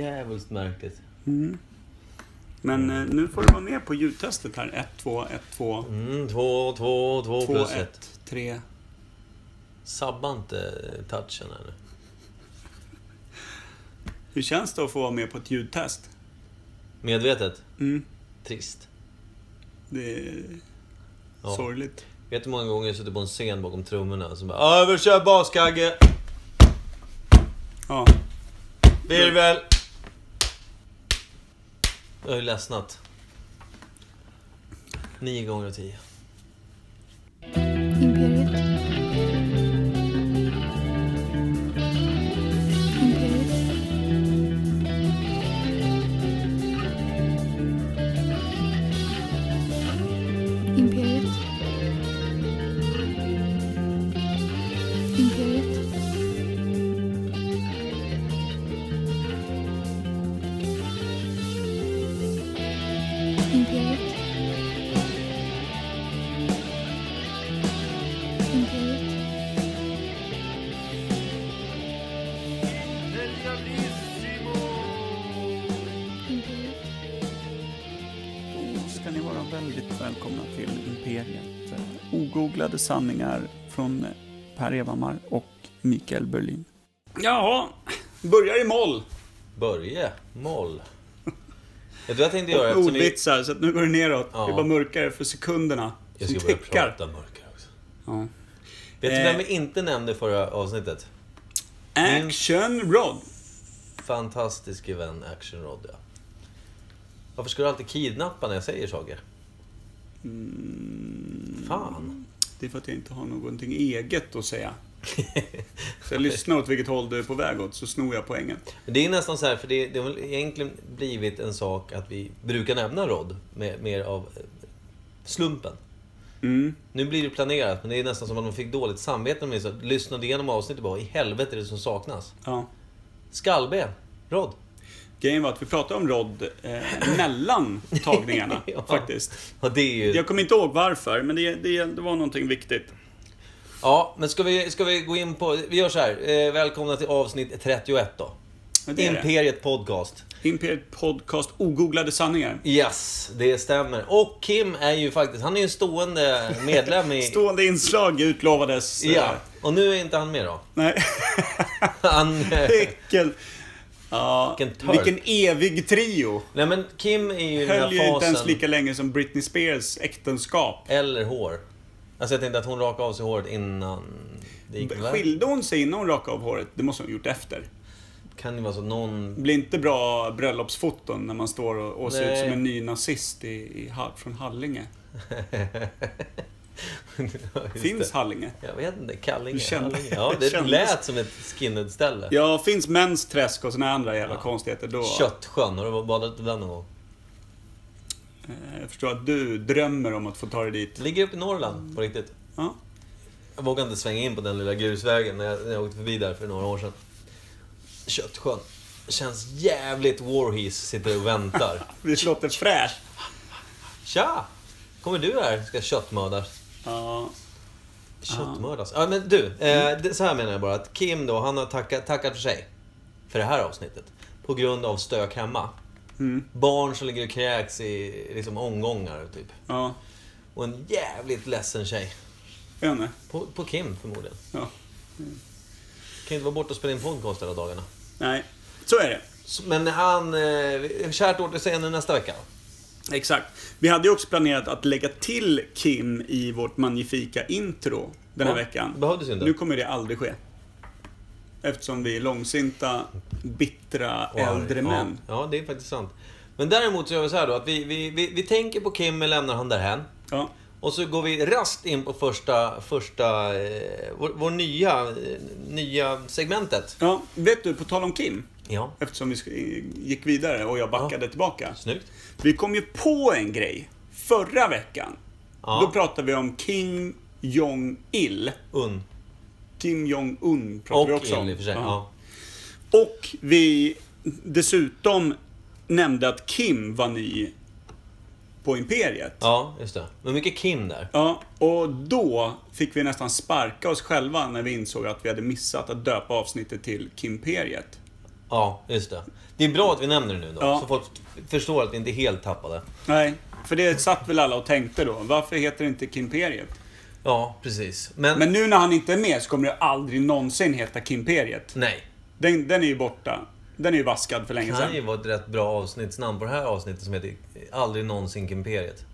Djävulskt märkligt. Mm. Men eh, nu får du vara med på ljudtestet här. 1, 2, 1, 2, Mm, två, två, två 2, plus ett. 1, 3. Sabba inte touchen här nu. Hur känns det att få vara med på ett ljudtest? Medvetet. Mm. Trist. Det är Ja. sorgligt. Vet du hur många gånger jag suttit på en scen bakom trummorna som bara Överkör baskagge, Ja. virvel. Jag har ju ledsnat. Nio gånger av tio. Imperiet. Imperiet. Imperiet. Imperiet. Imperiet. Imperiet. Imperiet. Då ska ni vara väldigt välkomna till Imperiet. Eh, Ogooglade sanningar från eh, Per Evhammar och Mikael Berlin. Jaha, börjar i moll. Börje. Moll. Vet du vad jag tänkte göra? Och Eftersom vi- ordvitsar, så att nu går det neråt. Ja. Det är bara mörkare för sekunderna. Jag som ska börja tickar. prata mörkare också. Ja. Vet du Eh. vem vi inte nämnde i förra avsnittet? Action Rod. Fantastiske vän Action Rod, ja. Varför ska du alltid kidnappa när jag säger saker? Fan. Det är för att jag inte har någonting eget att säga. Så jag lyssnar åt vilket håll du är på väg åt, så snor jag poängen. Men Det är nästan så här, för det, det har väl egentligen blivit en sak att vi brukar nämna Rod, med, mer av eh, slumpen. Mm. Nu blir det planerat, men det är nästan som att de fick dåligt samvete när de så här, lyssnade igenom avsnittet och bara, i helvete är det som saknas. Ja. Skallben, Rod. Grejen var att vi pratade om Rod eh, mellan tagningarna, Ja. faktiskt. Ja, det är ju... Jag kommer inte ihåg varför, men det, det, det var någonting viktigt. Ja, men ska vi, ska vi gå in på... Vi gör så här. Eh, välkomna till avsnitt 31 då. Men det är det. Imperiet Podcast. Imperiet Podcast Ogooglade sanningar. Yes, det stämmer. Och Kim är ju faktiskt, han är ju en stående medlem i... Stående inslag utlovades. eh, Ja, och nu är inte han med då. Nej. Han... eh, Vilken... Ja, Vilken törk. vilken evig trio. Nej men Kim är ju i den Höll ju här inte ens fasen... lika länge som Britney Spears äktenskap. Eller hår. Alltså jag tänkte att hon rakade av sig håret innan det gick iväg. Skilde hon sig innan hon rakade av håret? Det måste hon ha gjort efter. Kan ju vara så att någon... Det blir inte bra bröllopsfoton när man står och, och ser ut Nej. som en ny nazist i, i, Hall- från Hallinge. Just Finns det. Hallinge? Jag vet inte, Kallinge. Du kände- Kallinge. Ja, det kändes- lät som ett skinhead-ställe. Ja, finns Mäns träsk och såna andra jävla konstigheter då. Köttsjön, har du badat i den någon gång? Eh, Jag förstår att du drömmer om att få ta dig dit. Ligger uppe i Norrland, på riktigt. Ja. Jag vågade inte svänga in på den lilla grusvägen när jag, när jag åkte förbi där för några år sedan. Köttsjön. Känns jävligt Warhees sitter och väntar. Det låter fräscht. Tja! Kommer du här? Ska köttmördas. Ja. Köttmördas? Ja men du, eh, det, så här menar jag bara att Kim då, han har tackat, tackat för sig. För det här avsnittet. På grund av stök hemma. Mm. Barn som ligger och kräks i liksom, omgångar typ. Ja. Och en jävligt ledsen tjej. Jag vet inte. På, på Kim förmodligen. Ja. Kan inte vara borta och spela in podcast hela dagarna. Nej, så är det. Så- Men han... Eh, kärt återseende nästa vecka. Exakt. Vi hade ju också planerat att lägga till Kim i vårt magnifika intro den här Ja, veckan. behövdes ju inte. Nu kommer det aldrig ske. Eftersom vi är långsinta, bittra, äldre ja, män. Ja, det är faktiskt sant. Men däremot så gör vi så här då att vi, vi, vi, vi tänker på Kim, men lämnar han därhän. Ja. Och så går vi rast in på första, första eh, vår, vår nya, eh, nya segmentet. ja, vet du, på tal om Kim. Ja, Eftersom vi sk- gick vidare och jag backade tillbaka. snyggt. Vi kom ju på en grej förra veckan. Ja. Då pratade vi om Kim Jong-Il. Un. Kim Jong-Un pratade Och vi också om. Il i och för sig. Ja. Ja. Och vi dessutom nämnde att Kim var ny på Imperiet. Ja. ja, just det. Men mycket Kim där. och då fick vi nästan sparka oss själva när vi insåg att vi hade missat att döpa avsnittet till Kimperiet. Ja, just det. Det är bra att vi nämner det nu då, Ja. så folk förstår att vi inte är helt tappade. Nej, för det satt väl alla och tänkte då. Varför heter det inte Kimperiet? Ja, precis. Men, Men nu när han inte är med så kommer det aldrig någonsin heta Kimperiet. nej. Den, den är ju borta. Den är ju vaskad för länge Det kan ju sedan. vara ett rätt bra avsnittsnamn på det här avsnittet som heter Aldrig någonsin Kimperiet.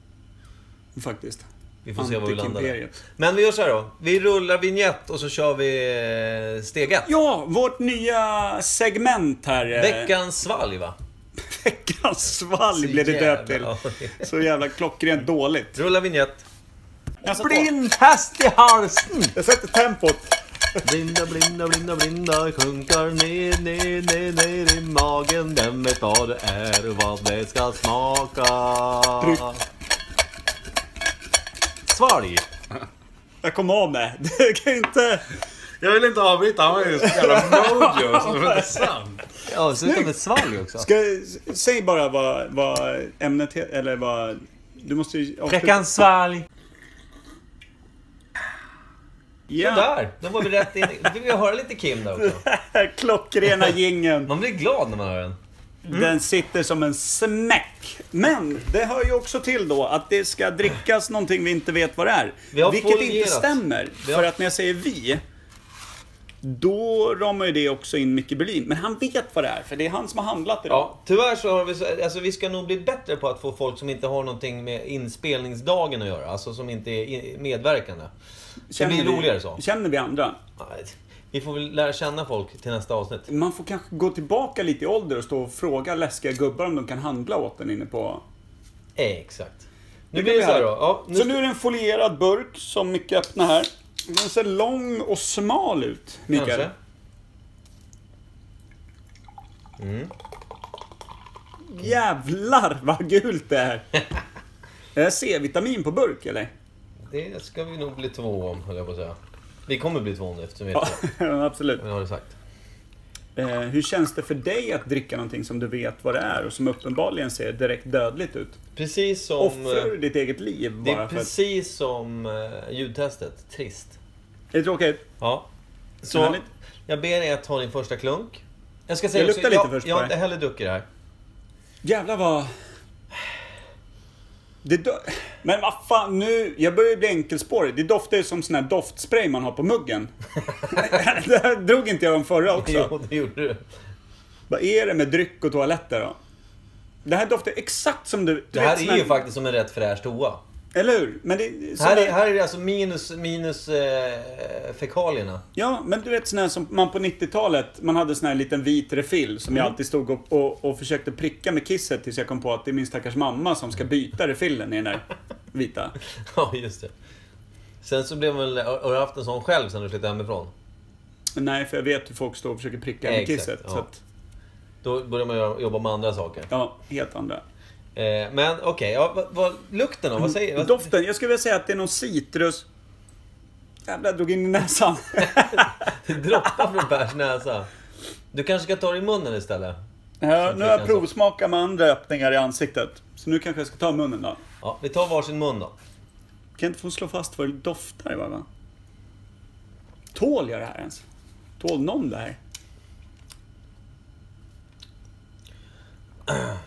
Faktiskt. Vi får se var vi landar. där. Antikimperiet. Men vi gör så här då. Vi rullar vignett och så kör vi eh, steg ett. Ja, vårt nya segment här. eh, Veckans svalg va? Veckans svalg Så blev det döpt till. jävla- Så jävla klockrent dåligt. Rulla vignett. Jag satt på. Blind häst i halsen! Jag sätter tempot. Blinda, blinda, blinda, blinda sjunkar ner, ner, ner, ner i magen. Vem vet vad det är och vad det ska smaka? Tryck. Svalg! Jag kom av med. Det kan ju inte... Jag vill inte avbryta, han var ju så jävla mojo så det var inte sant. Ja, sluta med svalg också. Ska, säg bara vad, vad ämnet heter, eller vad... Du måste ju... avsluta. Veckans svalg! Ja, Där! Då var vi rätt in i- Då fick vi höra lite Kim där också. klockrena gingen. Man blir glad när man hör den. Mm. Den sitter som en smäck. Men det hör ju också till då att det ska drickas någonting vi inte vet vad det är. Vi har vilket inte folierat. stämmer. Vi har- För att när jag säger vi, då ramar ju det också in Micke Berlin. Men han vet vad det är, för det är han som har handlat idag. Ja, tyvärr så har vi... så- Alltså vi ska nog bli bättre på att få folk som inte har någonting med inspelningsdagen att göra. Alltså som inte är i- medverkande. Det blir vi- roligare så. Känner vi andra? Nej, Vi får väl lära känna folk till nästa avsnitt. Man får kanske gå tillbaka lite i ålder och stå och fråga läskiga gubbar om de kan handla åt en inne på... Exakt. Nu blir det så här då. Ja, nu Så nu är det en folierad burk som Micke öppnar här. Den ser lång och smal ut, Mikael. kanske. Jävlar vad gult det är! Är det C-vitamin på burk eller? Det ska vi nog bli två om, höll jag på att säga. Vi kommer bli två om det eftersom vi Ja, vet det. absolut. Men jag har det sagt. Eh, hur känns det för dig att dricka någonting som du vet vad det är och som uppenbarligen ser direkt dödligt ut? Precis som... Offrar du ditt eget liv eh, Det bara är för att... precis som eh, ljudtestet. Trist. Är det tråkigt? Ja. Så Härligt. jag ber er att ta din första klunk. Jag ska säga Jag också- luktar lite jag, först på Jag har det. inte heller druckit det här. Jävlar vad... Det do... Men vad fan nu, jag börjar ju bli enkelspårig. Det doftar ju som sån här doftspray man har på muggen. det här drog inte jag om förra också. Jo, det gjorde du. Vad är det med dryck och toaletter då? Det här doftar exakt som du... du Det här vet, är sån ju faktiskt som en rätt fräsch toa. Eller hur? Men det, så Här är, här är det alltså minus, minus eh, fekalierna. Ja, men du vet sån här som man på 90-talet, man hade sån här liten vit refill som Mm. jag alltid stod och, och, och försökte pricka med kisset tills jag kom på att det är min stackars mamma som ska byta refillen i den där vita. Ja, just det. Sen så blev man väl... Har du haft en sån själv sen du flyttade hemifrån? Nej, för jag vet hur folk står och försöker pricka med Exakt, kisset. ja. Så att, Då börjar man göra- jobba med andra saker. ja, helt andra. Eh, men okej, ja, vad, vad, lukten då? Vad säger vad- Doften, jag skulle vilja säga att det är någon citrus... Jävlar, jag drog in i näsan. Det droppar från Pers näsa. Du kanske ska ta det i munnen istället? ja, nu har jag Citrus. provsmakat med andra öppningar i ansiktet. Så nu kanske jag ska ta munnen då. Ja, vi tar varsin mun då. Kan jag inte få slå fast vad det doftar va? va? Tål jag det här ens? Tål någon det här?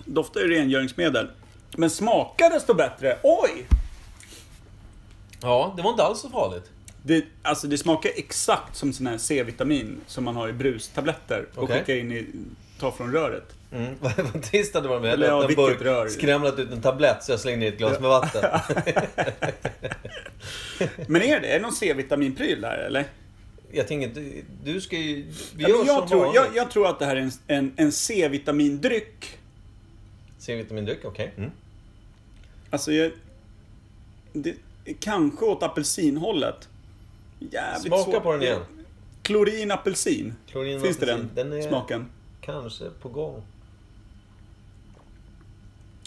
Doftar ju rengöringsmedel. Men smakar desto bättre. Oj! Ja, det var inte alls så farligt. Det, alltså det smakar exakt som sån här C-vitamin som man har i brustabletter och Okej. skickar in i, tar från röret. Mm. Vad vad trist att det var med. Eller ja, Jag hade vilket öppnat en burk, rör. skramlat ut en tablett så jag slängde i ett glas med vatten. Men är det, är det någon C-vitaminpryl där eller? Jag tänker inte, du ska ju... Vi Ja, gör men som jag, tror, vanligt. jag, jag tror att det här är en, en, en C-vitamindryck C-vitamindryck, okej. Mm. Alltså, jag... Det, kanske åt apelsinhållet. Jävligt Smaka svårt. på den igen. Klorin apelsin. Klorin och Finns det den, apelsin. är smaken? kanske på gång.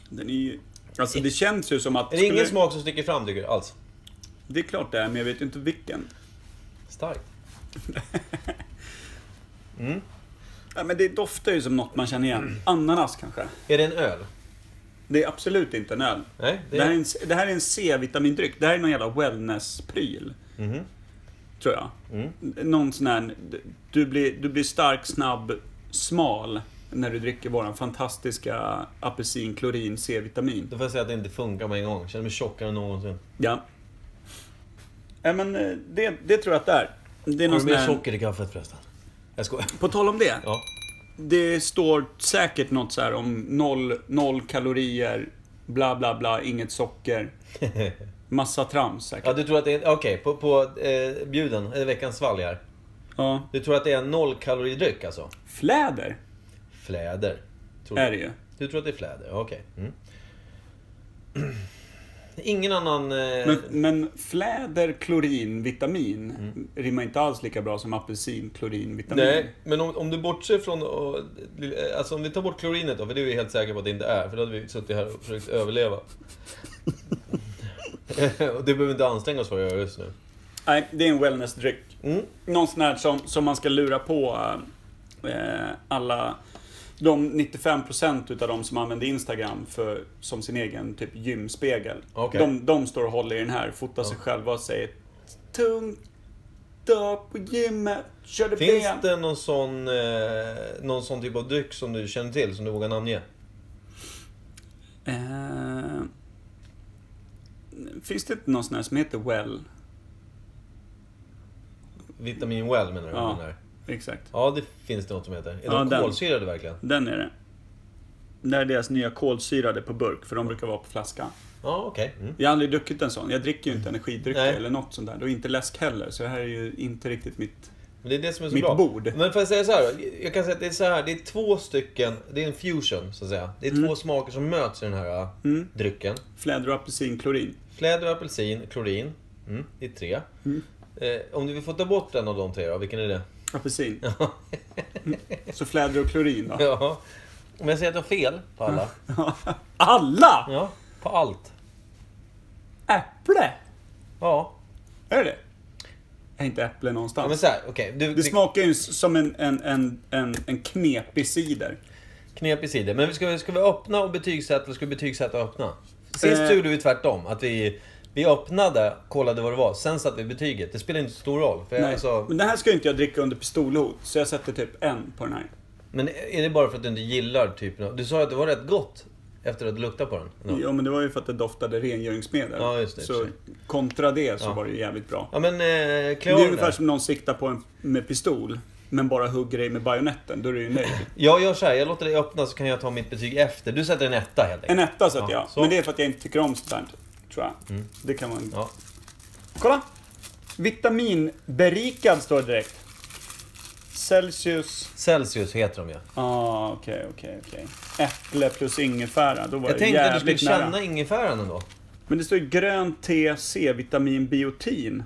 Den är ju... Alltså det känns ju som att... Är det ingen smak som sticker fram tycker du? Alls? Det är klart det är, men jag vet ju inte vilken. Starkt. Ja, men det doftar ju som något man känner igen. Ananas kanske. Är det en öl? Det är absolut inte en öl. Nej, det Det, här är en, det här är en C-vitamindryck. Det här är någon jävla wellness-pryl. Mm-hmm. Tror Mm. jag. Någon sån här... Du blir, du blir stark, snabb, smal. när du dricker våran fantastiska apelsinklorin C-vitamin. Då får jag säga att det inte funkar med en gång. Jag känner mig tjockare än någonsin. Ja. Nej men eh, det, det tror jag att det är. Det är Har någon du sån mer där... socker i kaffet förresten? Jag skojar. På tal om det. Ja. Det står säkert något så här om noll, noll kalorier, bla bla bla, inget socker. Massa trams säkert. ja, du tror att det är... Okej, på, på eh, bjuden, eller veckans svalg här. Ja. Du tror att det är en nollkaloridryck alltså? Fläder Fläder. Tror du. är det ju. Du tror att det är fläder? Ja, Okej. Mm. Ingen annan... Eh, Men, men fläder, klorin, vitamin rimmar inte alls lika bra som apelsin, klorin, vitamin. Mm. Nej, men om, om du bortser från... Och, alltså om vi tar bort klorinet då, för det är vi helt säkra på att det inte är. För då hade vi suttit här och försökt överleva. och det behöver vi inte anstränga oss för att göra just nu. Nej, det är en wellnessdryck. Mm. Någon sån här som, som man ska lura på eh, alla de 95% utav de som använder Instagram för, som sin egen typ gymspegel. Okej. De, de står och håller i den här, fotar sig själva och säger Tungt upp på gymmet, körde Finns ben. det någon sån, eh, någon sån typ av dryck som du känner till, som du vågar namnge? Eh, finns det inte någon sån här som heter Well? Vitamin Well menar du? Ja. Ja, menar. Exakt. ja det finns det något som heter. Är Ja, de den. kolsyrade verkligen? Den är det. Det är deras nya kolsyrade på burk, för de brukar vara på flaska. Ja, okej. Mm. Jag har aldrig druckit en sån. Jag dricker ju inte energidrycker Nej. eller något sånt där. Och inte läsk heller, så det här är ju inte riktigt mitt... Men det är det som är så Mitt bra. bord. Men får jag säga så här, då? Jag kan säga att det är så här, det är två stycken, det är en fusion så att säga. Det är två smaker som möts i den här äh, Mm. drycken. Fläder och apelsinklorin. Fläder, apelsin, klorin. Mm, det är tre. Eh, om du vill få ta bort en av de tre då, vilken är det? Apelsin. Så fläder och klorin då. Ja. Om jag säger att jag har fel på alla. Alla! Ja, på allt. Äpple! Ja. Är det det? Är inte äpple ja men någonstans. så här, okej. Du, Det du- smakar ju som en, en, en, en, en knepig cider. Knepig sida. Men ska vi, ska vi öppna och betygsätta eller ska vi betygsätta och öppna? Sist Eh. gjorde vi tvärtom. Att vi, vi öppnade, kollade vad det var, sen satte vi betyget. Det spelar inte så stor roll. För jag, Nej. alltså, Men det här ska ju inte jag dricka under pistolhot, så jag sätter typ en på den här. men är det bara för att du inte gillar typen av... Du sa ju att det var rätt gott efter att du luktade på den. Ja, Ja, men det var ju för att det doftade rengöringsmedel. Ja, just det, i och så för sig. kontra det så Ja. var det ju jävligt bra. ja men eh, klä Det är av den ungefär där. som någon siktar på en med pistol, men bara hugger dig med bajonetten. Då är du ju nöjd. Jag gör så här, jag låter dig öppna så kan jag ta mitt betyg efter. Du sätter en etta helt En enkelt. etta sätter Ja, jag. så. Mm. Men det är för att jag inte tycker om sånt här, tror jag. Det kan man... Ja. Kolla! Vitaminberikad står det direkt. Celsius... Celsius heter de ju. Ah, okej, okej, okej. Äpple plus ingefära. Då var Jag det tänkte att du skulle jävligt nära. känna ingefäran ändå. Men det står ju grönt te, C-vitamin, biotin.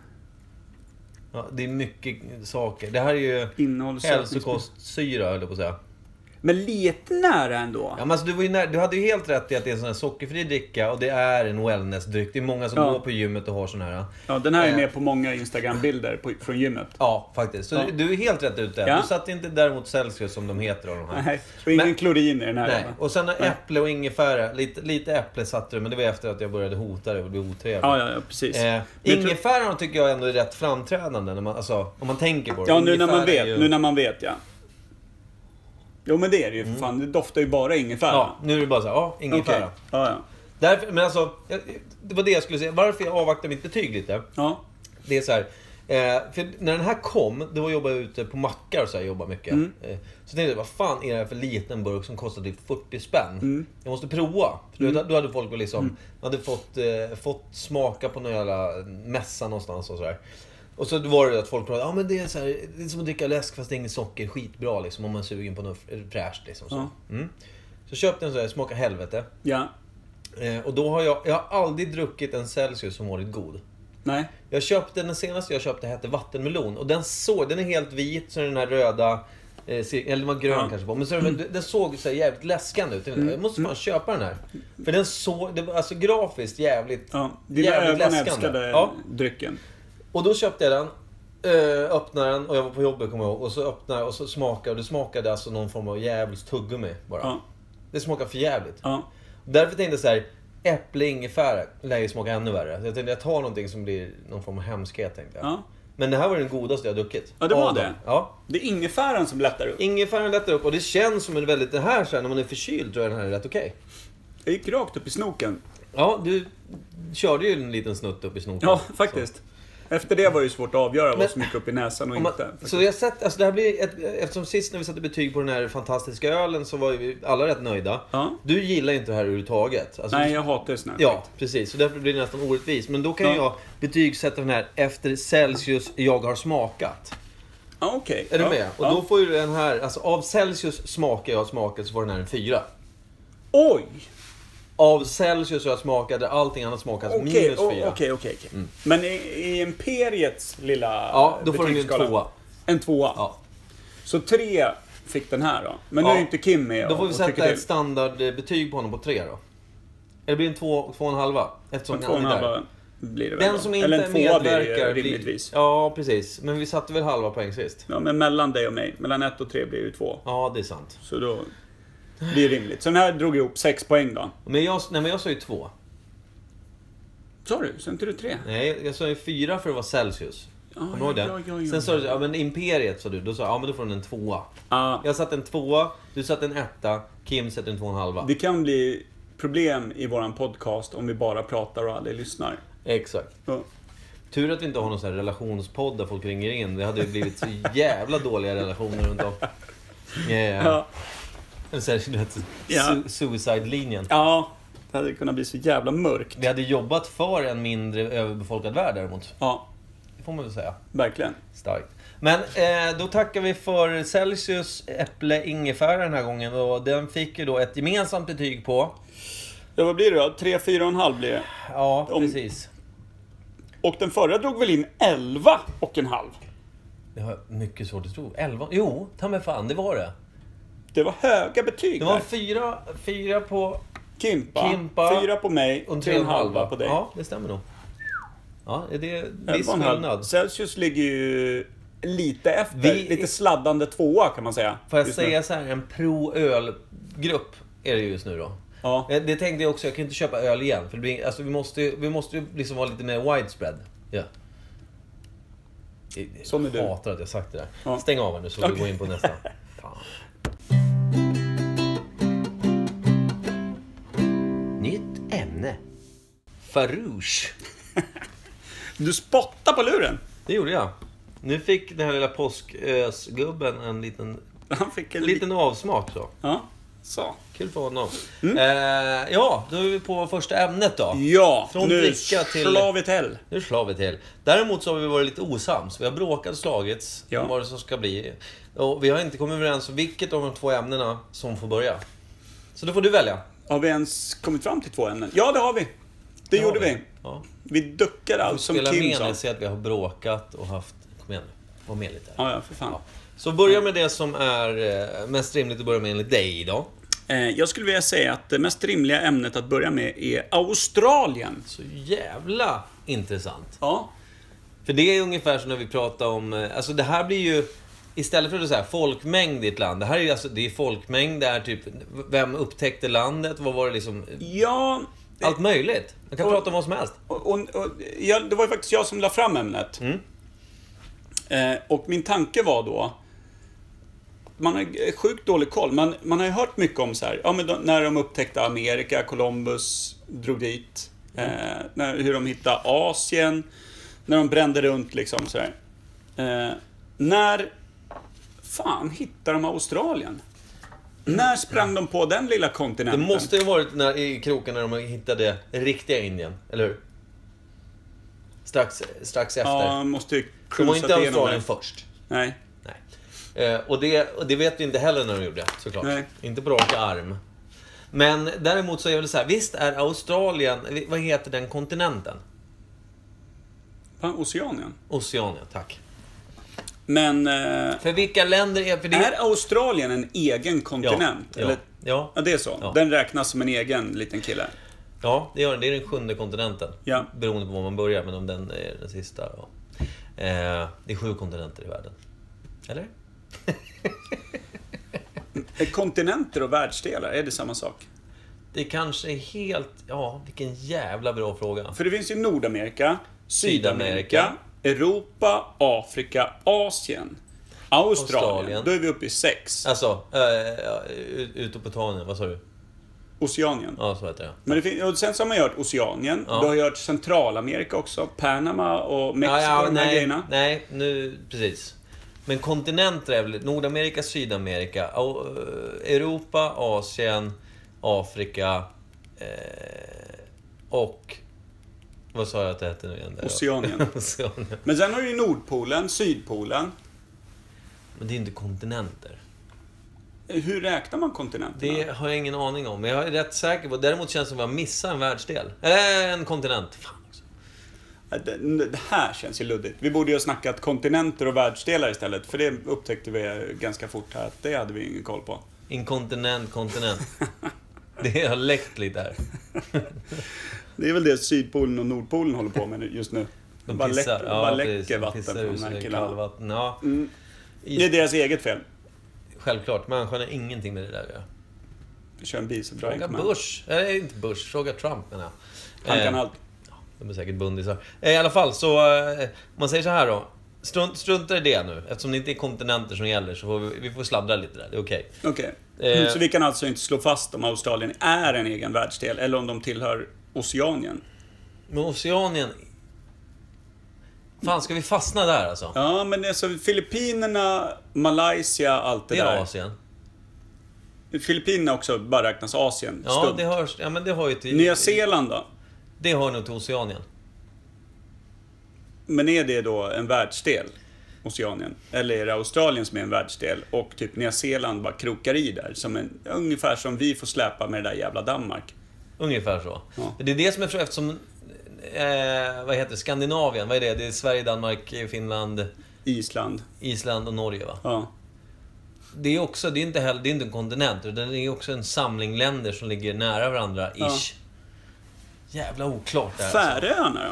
Ja, det är mycket saker. Det här är ju Innehållssättningsmedel. hälsokostsyra höll jag på att säga. Men lite nära ändå. Ja, men alltså, du, var ju när, du hade ju helt rätt i att det är en sån här sockerfri dricka och det är en wellnessdryck. Det är många som Ja. går på gymmet och har sån här. Ja, den här är Eh. med på många Instagram-bilder på- från gymmet. Ja, faktiskt. Så Ja. Du, du är helt rätt ute. Ja. Du satte inte däremot Celsius som de heter av de här. Nej, och ingen Men- klorin i den här. Nej. va? Och sen äpple och ingefära. Lite, lite äpple satte du, men det var efter att jag började hota dig och blev otrevlig. Ja, ja, ja, precis. Eh, Men jag tror- ingefäran tycker jag ändå är rätt framträdande, när man, alltså, om man tänker på det. ja, nu när man Ingefära vet. är ju- Nu när man vet, ja. Jo, men det är det ju för fan. Det doftar ju bara ingefära. Mm. Ja, nu är det bara så här, ja, ingefära. Okej. Ja, ja. Därför, men alltså, jag, det var det jag skulle säga. Varför jag avvaktar mitt betyg lite. ja. Det är så här, eh, för när den här kom, då jobbade jag ute på mackar och så här, jobbade mycket. Eh, så tänkte jag, vad fan är det här för liten burk som kostar typ 40 spänn? Jag måste prova. För då, då hade folk liksom, hade fått, eh, fått smaka på någon jävla mässa någonstans och sådär. Och så var det att folk pratade, ja men det är, så här, det är som att dricka läsk fast det är inget socker, skitbra liksom om man är sugen på något fräscht liksom. Så, mm. så köpte jag en sån här, smaka helvete. Ja. Eh, och då har jag, jag har aldrig druckit en Celsius som varit god. Nej. Jag köpte den senaste jag köpte hette vattenmelon och den såg, den är helt vit så är den här röda eh, cir- eller den var grön Ja. Mm. kanske på, men så den, den såg så här jävligt läskande ut. Jag tänkte, Jag måste fan köpa den här. För den såg, det var alltså grafiskt jävligt. Ja. Dina Jävligt ögon läskande. älskade Ja. drycken. Och då köpte jag den, eh, öppnade den och jag var på jobbet kommer jag ihåg. Och så öppnade jag och så smakade och det smakade alltså någon form av djävulskt tuggummi bara. Ja. Det smakade för jävligt. Ja. Därför tänkte jag så här. Äpple, ingefära lär ju smaka ännu värre. Så jag tänkte jag tar någonting som blir någon form av hemskhet. Tänkte jag. Ja. Men det här var den godaste jag har druckit. Ja, det var Av dem. det. Ja. Det är ingefäran som lättar upp. Ingefäran lättar upp och det känns som en väldigt... Den här sen, när man är förkyld tror jag den här är rätt okej. Jag gick rakt upp i snoken. Ja, du körde ju en liten snutt upp i snoken. Ja, faktiskt. Efter det var det ju svårt att avgöra Men- vad som gick upp i näsan och Om man, inte. faktiskt. så jag har sett, alltså det här blir ett, eftersom sist när vi satte betyg på den här fantastiska ölen så var ju vi alla rätt nöjda. Ja. Du gillar ju inte det här överhuvudtaget. Alltså, Nej, jag hatar ju snö. Ja, precis. Så därför blir det nästan orättvist. Men då kan Ja. jag betygsätta den här efter Celsius jag har smakat. Ja, Okej. Är ja. du med? Och ja. då får ju den här, alltså av Celsius smaker jag har smakat så får den här en fyra. Oj! Av Celsius jag har smakat där allting annat smakas Okej, minus o- fyra. Mm. okej, okej. okej. Men i, i Imperiets lilla Ja, då får den ju en betygsskala- tvåa. En tvåa? Ja. Så tre fick den här då. Men nu Ja. är ju inte Kim med Då får och- vi och tycker sätta ett till. standardbetyg på honom på tre då. Eller blir det en två, två och en halva? Eftersom Men två och en han är där. halva blir det väl Den då. som Eller inte en tvåa blir det medverkar ju blir- rimligtvis. Ja. Ja, precis. Men vi satte väl halva poäng sist? men mellan dig och mig. Mellan ett och tre blir det ju två. Ja, det är sant. Så då blir det rimligt. Så den här drog ihop sex poäng då. Men jag, nej, men jag sa ju två. Sa du? Sen inte du tre? Nej, jag sa ju fyra för att vara Celsius. Ja, Kommer du ihåg ja, det? ja, ja, ja. Sen sa du, ja men Imperiet sa du. Då sa jag, ja men då får den en tvåa. Ja, Jag satte en tvåa, du satte en etta, Kim satte en två och en halva. det kan bli problem i våran podcast om vi bara pratar och aldrig lyssnar. Exakt. Ja. Tur att vi inte har någon sån här relationspodd där folk ringer in. Det hade ju blivit så jävla dåliga relationer runt om. Yeah. Ja. Eller så här, du vet, Ja. su- suicide-linjen. ja, det hade kunnat bli så jävla mörkt. Vi hade jobbat för en mindre överbefolkad värld däremot. Ja, Det får man väl säga. verkligen. Starkt. Men eh, då tackar vi för Celsius äpple ingefära den här gången. Och den fick ju då ett gemensamt betyg på... Ja, vad blir det då? Tre, fyra och en halv blir det. Ja, Om- precis. Och den förra drog väl in elva och en halv? Det har jag mycket svårt att tro. 11? Jo, ta mig fan, det var det. Det var höga betyg Det var där. fyra, fyra på... Kimpa, Kimpa. fyra på mig Och en och tre och en halva på dig. Ja, det stämmer nog. Ja, det är en Elva viss och en halv. skillnad. Celsius ligger ju lite efter. Vi- Lite sladdande tvåa kan man säga. Får jag just nu. säga så här, en pro-öl-grupp är det just nu då. Ja. Eh, Det tänkte jag också, jag kan inte köpa öl igen. För det blir, alltså, vi måste ju vi måste ju liksom vara lite mer widespread. Ja. Jag Som är du. hatar att jag sagt det där. Ja. Stäng av här nu så vi Okej. går in på nästa. Fan. Nytt ämne. Farouche. Du spottar på luren! Det gjorde jag. Nu fick den här lilla påskösgubben en liten, Han fick en en liten... liten avsmak. Så. Ja, så. Kul för honom. Eh, ja, då är vi på första ämnet då. Mm. Ja, Från nu dricka till- slår vi till. Nu slår vi till. Däremot så har vi varit lite osams. Vi har bråkat och slagits Ja. om vad det som ska bli. Och vi har inte kommit överens om vilket av de två ämnena som får börja. Så då får du välja. Har vi ens kommit fram till två ämnen? Ja, det har vi. Det, gjorde har vi. Ja. Vi duckade allt som Spela Kim med sa. när se att vi har bråkat och haft... Kom igen nu. Var med lite. Ja, ja, för fan. Så börja med det som är eh, mest rimligt att börja med enligt dig idag. Eh, Jag skulle vilja säga att det mest rimliga ämnet att börja med är Australien. Så jävla intressant. Ja, För det är ungefär som när vi pratar om... eh, Alltså det här blir ju... Istället för att säga folkmängd i ett land. Det här är ju alltså, det är folkmängd, det är typ... Vem upptäckte landet? Vad var det liksom? ja Allt möjligt. Man kan Och- prata om vad som helst. och, och, och, jag, det var ju faktiskt jag som la fram ämnet. Mm. Eh, och min tanke var då... Man har sjukt dålig koll. Man, man har ju hört mycket om så här, ja, men de, när de upptäckte Amerika, Columbus drog dit. Mm. Eh, när, hur de hittade Asien. När de brände runt liksom så här. Eh, när... Fan, hittade de Australien? När sprang de på den lilla Det kontinenten? måste ju ha varit när, i kroken när de hittade riktiga Indien, eller hur? Strax, strax efter. Ja, måste ju de var cruisat inte igenom Australien det. först. Nej. Nej. Eh, och, det, och det vet vi inte heller när de gjorde, såklart. Nej. Inte på rak arm. Men däremot så är det väl så här, visst är Australien, vad heter den kontinenten? Fan, Oceanien. Oceanien, tack. Men eh, För vilka länder är... För det är Australien en egen kontinent? Ja, Eller? ja, ja det är så. Ja. Den räknas som en egen liten kille. Ja, det gör den. Det är den sjunde kontinenten. Ja. Beroende på var man börjar, men om den är den sista. Ja. Eh, det är sju kontinenter i världen. Eller? Eh, Kontinenter och världsdelar, är det samma sak? Det kanske är helt... Ja, vilken jävla bra fråga. För det finns ju Nordamerika, Sydamerika, Sydamerika, Europa, Afrika, Asien, Australien. Australien. Då är vi uppe i sex. Alltså, äh, ute på Tanien, vad sa du? Oceanien. Ja, så heter det. Men det finns, och sen så har man gjort Oceanien. Du har gjort Centralamerika också. Panama och Mexiko, Ja, ja, de här nej, grejerna. nej, nu precis. Men kontinenter är väl Nordamerika, Sydamerika, Au- eh, Europa, Asien, Afrika eh, och... Vad sa jag att det hette nu igen? där? Oceanien. Oceanien. Men sen har du ju Nordpolen, Sydpolen. Men det är ju inte kontinenter. Hur räknar man kontinenterna? Det har jag ingen aning om. Men jag är rätt säker på... Däremot känns det som att jag missar en världsdel. Eller en kontinent. Fan också. Ja, Det, det här känns ju luddigt. Vi borde ju ha snackat kontinenter och världsdelar istället. För det upptäckte vi ganska fort här att det hade vi ingen koll på. Inkontinent, kontinent. det har läckt lite här. Det är väl det Sydpolen och Nordpolen håller på med nu- just nu. De bara pissar. läcker, bara precis. läcker De vatten pissar från ur de här sig killarna. Mm. Kallvatten. Ja. Det är deras eget fel. Självklart, människan har ingenting med det där att göra. Kör en bifördröjning. Fråga Bush. Nej, inte Bush. Fråga Trump menar jag. Han kan Eh, allt. De är säkert bundisar. Eh, I alla fall, så... eh, Man säger så här då. Strunt, strunta i det nu. Eftersom det inte är kontinenter som gäller så får vi, vi får sladdra lite där. Det är okej. Okej. Eh. Så vi kan alltså inte slå fast om Australien är en egen världsdel eller om de tillhör Oceanien. Men Oceanien... Fan, ska vi fastna där alltså? Ja, men alltså Filippinerna, Malaysia, allt det, det är där. Asien. Filippinerna också bara räknas Asien. Ja, stumt. det hörs. Ja, men det har ju till... Nya Zeeland då? Det hör nog till Oceanien. Men är det då en världsdel? Oceanien? Eller är det Australien som är en världsdel och typ Nya Zeeland bara krokar i där? Som en, ungefär som vi får släpa med det där jävla Danmark. Ungefär så. Ja. Det är det som är frågan eftersom... Eh, vad heter det? Skandinavien, vad är det? Det är Sverige, Danmark, Finland, Island. Island och Norge va? Ja. Det är också, det är inte heller, det är inte en kontinent utan det är också en samling länder som ligger nära varandra, ish. Jävla oklart det här. alltså. Färöarna då?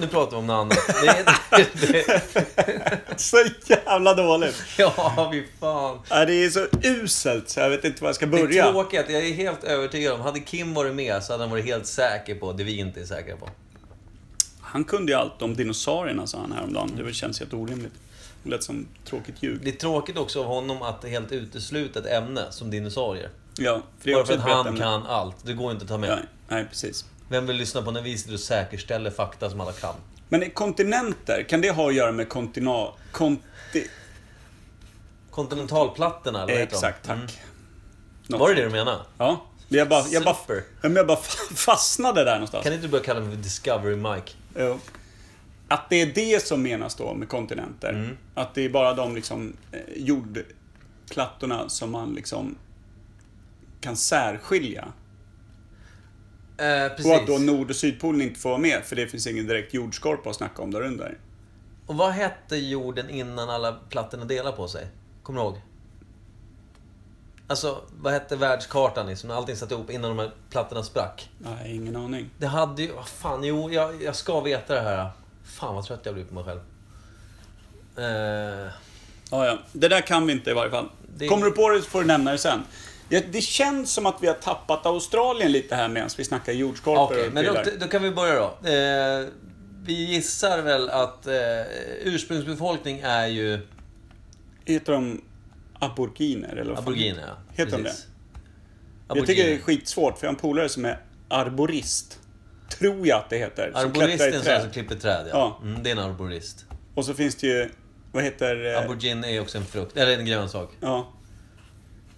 Nu pratar vi om något annat. Det är, det, Så jävla dåligt! ja, vi fan. Ja, det är så uselt så jag vet inte var jag ska Det är börja. tråkigt, jag är helt övertygad om. Hade Kim varit med så hade han varit helt säker på det vi inte är säkra på. Han kunde ju allt om dinosaurierna sa han häromdagen. Det känns helt orimligt. Det lät som tråkigt ljug. Det är tråkigt också av honom att helt utesluta ett ämne som dinosaurier. Ja, för det är Bara också för ett att brett han ämne. kan allt. Det går inte att ta med. Ja, nej, precis. Vem vill lyssna på när vi sitter och säkerställer fakta som alla kan? Men är kontinenter, kan det ha att göra med kontina... Konti... eh, Kontinentalplattorna, eller vad heter Exakt, tack. de? Något Mm. Var det sånt. det du menade? Ja. Men Jag bara, jag bara, Super. ja, men jag bara fa- fastnade där någonstans. Kan inte du börja kalla mig för Discovery Mike? Jo. Att det är det som menas då med kontinenter. Mm. Att det är bara de liksom, eh, jordplattorna som man liksom kan särskilja. Eh, Och att precis. då Och, Nord och Sydpolen inte får vara med, för det finns ingen direkt jordskorpa att snacka om där under. vad hette jorden innan alla plattorna delade på sig? Kommer du ihåg? Alltså, vad hette världskartan liksom? När allting satt ihop innan de här plattorna sprack. Nej, ingen aning. Det hade ju... Vad fan, jo, jag, jag ska veta det här. Fan vad trött jag blir på mig själv. Eh, Ja, ja. Det där kan vi inte i varje fall. Det- Kommer du på det så får du nämna det sen. Ja, det känns som att vi har tappat Australien lite här medan vi snackar jordskorpor Okej, och men då, prylar. då kan vi börja då. Eh, vi gissar väl att eh, ursprungsbefolkning är ju Heter de aboriginer? Eller vad fan? aboriginer. ja. Heter de Precis. Jag tycker det är Aboriginer. skitsvårt, för jag har en polare som är arborist. Tror jag att det heter. som klättrar i Arboristen som träd. alltså klipper träd, ja. Ja. Mm, det är en arborist. Och så finns det ju, vad heter... eh, Aborigin är också en frukt, eller en grönsak. ja.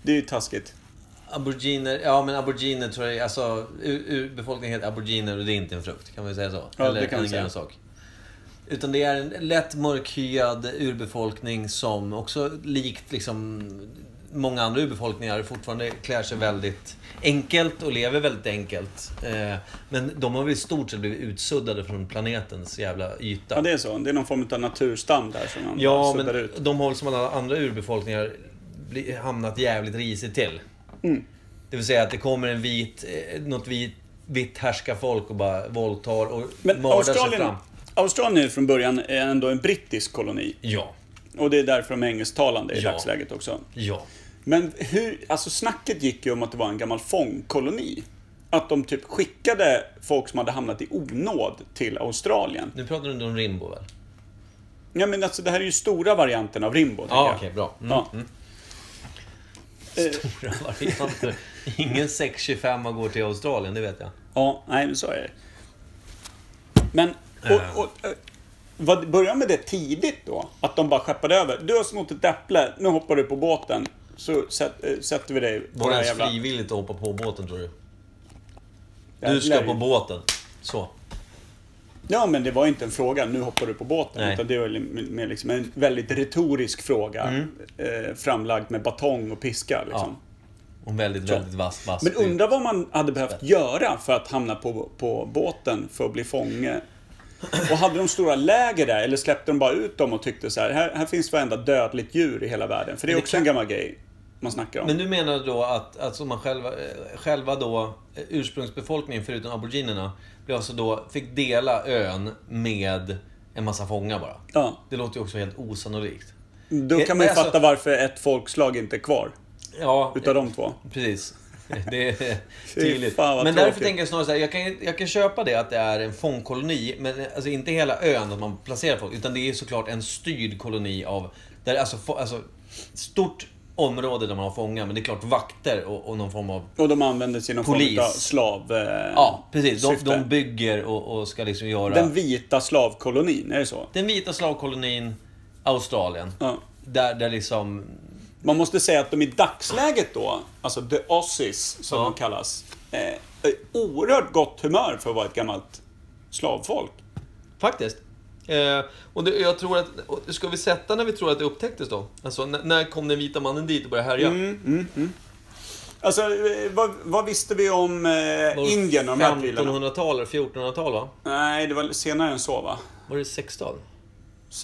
Det är ju taskigt. Aboriginer, ja men aboriginer tror jag, alltså ur- urbefolkningen heter aboriginer och det är inte en frukt. Kan vi säga så? Ja, det eller kan vi en säga. grönsak. Utan det är en lätt mörkhyad urbefolkning som också likt liksom många andra urbefolkningar fortfarande klär sig väldigt enkelt och lever väldigt enkelt. Eh, Men de har väl i stort sett blivit utsuddade från planetens jävla yta. Ja, det är så. Det är någon form av naturstam där som man Ja, suddar men ut. de har väl som alla andra urbefolkningar bli- hamnat jävligt risigt till. Mm. Det vill säga att det kommer en vit, eh, något vit, vitt härskarfolk och bara våldtar och Men mördar sig Australien, fram. Australien är ju från början ändå en brittisk koloni. Ja, Och det är därför de är engelsktalande i Ja. dagsläget också. ja. Men hur, alltså snacket gick ju om att det var en gammal fångkoloni. att de typ skickade folk som hade hamnat i onåd till Australien. Nu pratar du inte om Rimbo väl? Ja, men alltså, det här är ju stora varianten av Rimbo. tänker Ja, jag. okej, bra. Mm. Ja. Stora varianter. Ingen 625 går till Australien, det vet jag. Ja, nej, men så är det. Men, och, och, eh, vad, börja med det tidigt då. Att de bara skeppade över. Du har snott ett äpple, nu hoppar du på båten. Så sätt, eh, sätter vi dig på Var den det här ens jävla... frivilligt att hoppa på båten, tror du? jävla- Du ska på båten. Så. Ja, men det var inte en fråga, nu hoppar du på båten. Nej. Utan det var li- mer liksom en väldigt retorisk fråga. Mm. Eh, framlagd med batong och piska. Liksom. Och väldigt, Så. väldigt vass, vass. Men undra vad man hade behövt göra för att hamna på, på båten för att bli fånge. Och hade de stora läger där eller släppte de bara ut dem och tyckte så här, här, här finns varenda dödligt djur i hela världen. För det är Men det också en kan- gammal grej man snackar om. Men du menar då att, att som man själva, eh, själva då, eh, ursprungsbefolkningen förutom aboriginerna, blev alltså då, fick dela ön med en massa fångar bara? Ja. Det låter ju också helt osannolikt. Då kan man ju Alltså- fatta varför ett folkslag inte är kvar. Ja, Utav de två. Precis. Det är Fy tydligt. fan, vad men därför tråkigt. tänker jag snarare så här, jag kan, jag kan köpa det att det är en fångkoloni, men alltså inte hela ön att man placerar folk, utan det är såklart en styrd koloni av, där alltså, få- alltså stort område där man har fångar, men det är klart vakter och, och någon form av Och de använder sig i någon Polis. form av slav... eh, Ja, precis. De, syfte. de bygger och, och ska liksom göra... Den Den, vita slavkolonin, är det så? vita slavkolonin Australien. Ja. Där, där liksom... Man måste säga att de i dagsläget då, alltså the Aussies som Ja. de kallas, eh, är oerhört gott humör för att vara ett gammalt slavfolk. Faktiskt. Eh, och det, jag tror att... och Ska vi sätta när vi tror att det upptäcktes då? Alltså, när, när kom den vita mannen dit och började härja? Mm, Alltså, eh, vad, vad visste vi om Var det eh, Indien och de här prylarna? 1500-tal eller 1400-tal va? Nej, det var senare än så va? Var det 16?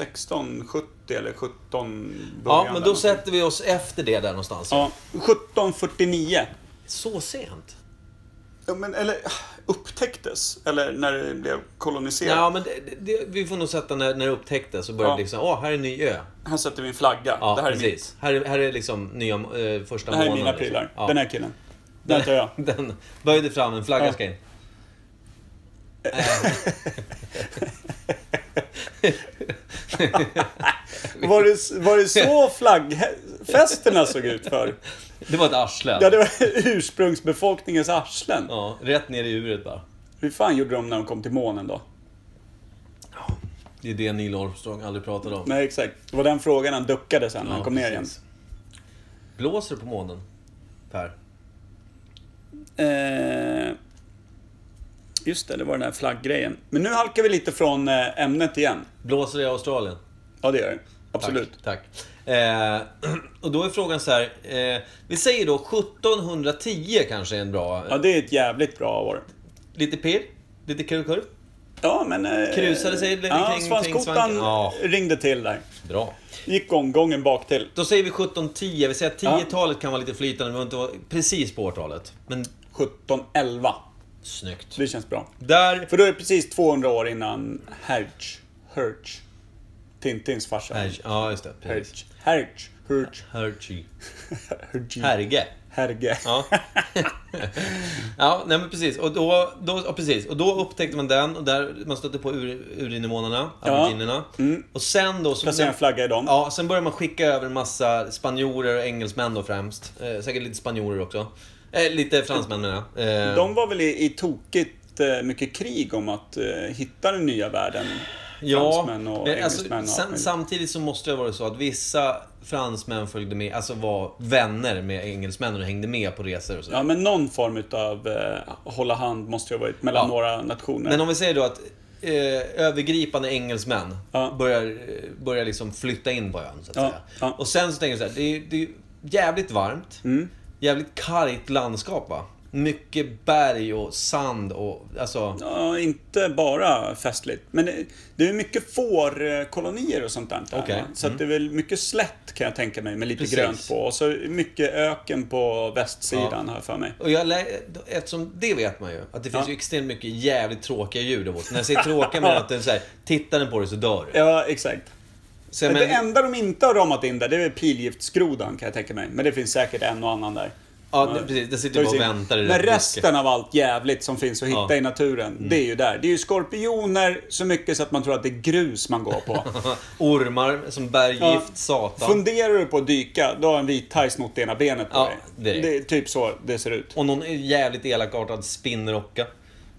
1670 eller 17 början Ja, men då där någonting. sätter vi oss efter det där någonstans. Ja, 1749. Så sent? Ja, men, eller upptäcktes, eller när det blev koloniserat. Ja, men det, det, vi får nog sätta när, när det upptäcktes och började Ja. liksom... Åh, här är en ny ö. Här sätter vi en flagga. Ja, det här är, min, precis. Här, är- här är liksom nya, eh, första det här är månaden. mina prylar. Liksom. Ja. Den här killen. Den tar jag. Den böjde fram, en flagga Ja. ska in. Var det, var det så flaggfesterna såg ut för? Det var ett arsle. Ja, det var ursprungsbefolkningens arslen. Ja, rätt ner i uret bara. Hur fan gjorde de när de kom till månen då? Det är det Neil Armstrong aldrig pratade om. Nej, exakt. Det var den frågan han duckade sen när han Ja, kom ner igen. precis. Blåser det på månen? Per? Eh, just det, det var den där flagggrejen. Men nu halkar vi lite från eh, ämnet igen. Blåser det i Australien? Ja, det gör det. Absolut. Tack. tack. Eh, och då är frågan så här. Eh, vi säger då 1710 kanske är en bra... Ja, det är ett jävligt bra år. Lite pirr, lite kurvkurv. Ja, men... Eh, Krusade sig lite ja, kring- kring svanskotan svanken. Ja. ringde till där. Bra. Gick omgången bak till. Då säger vi 1710. Vi säger att 10-talet kan vara lite flytande, men inte vara precis på årtalet. Men 1711. snyggt. Det känns bra. Där... För då är det precis 200 år innan Hertz, Hertz, Tintins farsa. Herg- Ja, just det. Precis. Hertz, Hertz, Hertz, Hergy. Hertz, Herge. Herge. Ja. ja, nej men precis. Och då, då, ja, precis. Och då upptäckte man den och där man stötte på ur, urinvånarna, aboriginerna. Och sen då... Så, Mm. Placera en flagga i dem. Ja, sen började man skicka över en massa spanjorer och engelsmän då främst. Eh, säkert lite spanjorer också. Eh, lite fransmän menar jag. Eh, De var väl i, i tokigt eh, mycket krig om att eh, hitta den nya världen. fransmän och eh, alltså, engelsmän och allt sen, möjligt. Samtidigt så måste det vara så att vissa fransmän följde med, alltså var vänner med engelsmännen och hängde med på resor och så. Ja, men någon form utav eh, hålla hand måste ju ha varit mellan Ja. några nationer. Men om vi säger då att eh, övergripande engelsmän Ja. börjar, eh, börjar liksom flytta in på ön, så att Ja, säga. ja. Mm. Och sen så tänker jag så här, det är, det är jävligt varmt. Jävligt kargt landskap, va? Mycket berg och sand och... Alltså, Ja, inte bara festligt. Men det, det är mycket fårkolonier och sånt där. Okej. Mm. Så att det är väl mycket slätt kan jag tänka mig med lite Precis. grönt på. Och så mycket öken på västsidan har jag för mig. Och jag lä- eftersom det vet man ju, att det finns Ja. ju extremt mycket jävligt tråkiga djur där borta. När jag säger tråkiga menar jag att den så här, tittar den på dig så dör du. Ja, exakt. Så jag Men det menar- enda de inte har ramat in där, det är pilgiftsgrodan kan jag tänka mig. Men det finns säkert en och annan där. Ja, det, precis. Det sitter Det ju är bara ju och väntar i Men rätt buske. resten av allt jävligt som finns att hitta Ja. Mm. i naturen, det är ju där. Det är ju skorpioner så mycket så att man tror att det är grus man går på. Ormar som bär gift, Ja. satan. Funderar du på att dyka, då har en vithaj snott ena benet på Ja, det är dig. det. Det är typ så det ser ut. och någon jävligt elakartad spinnrocka.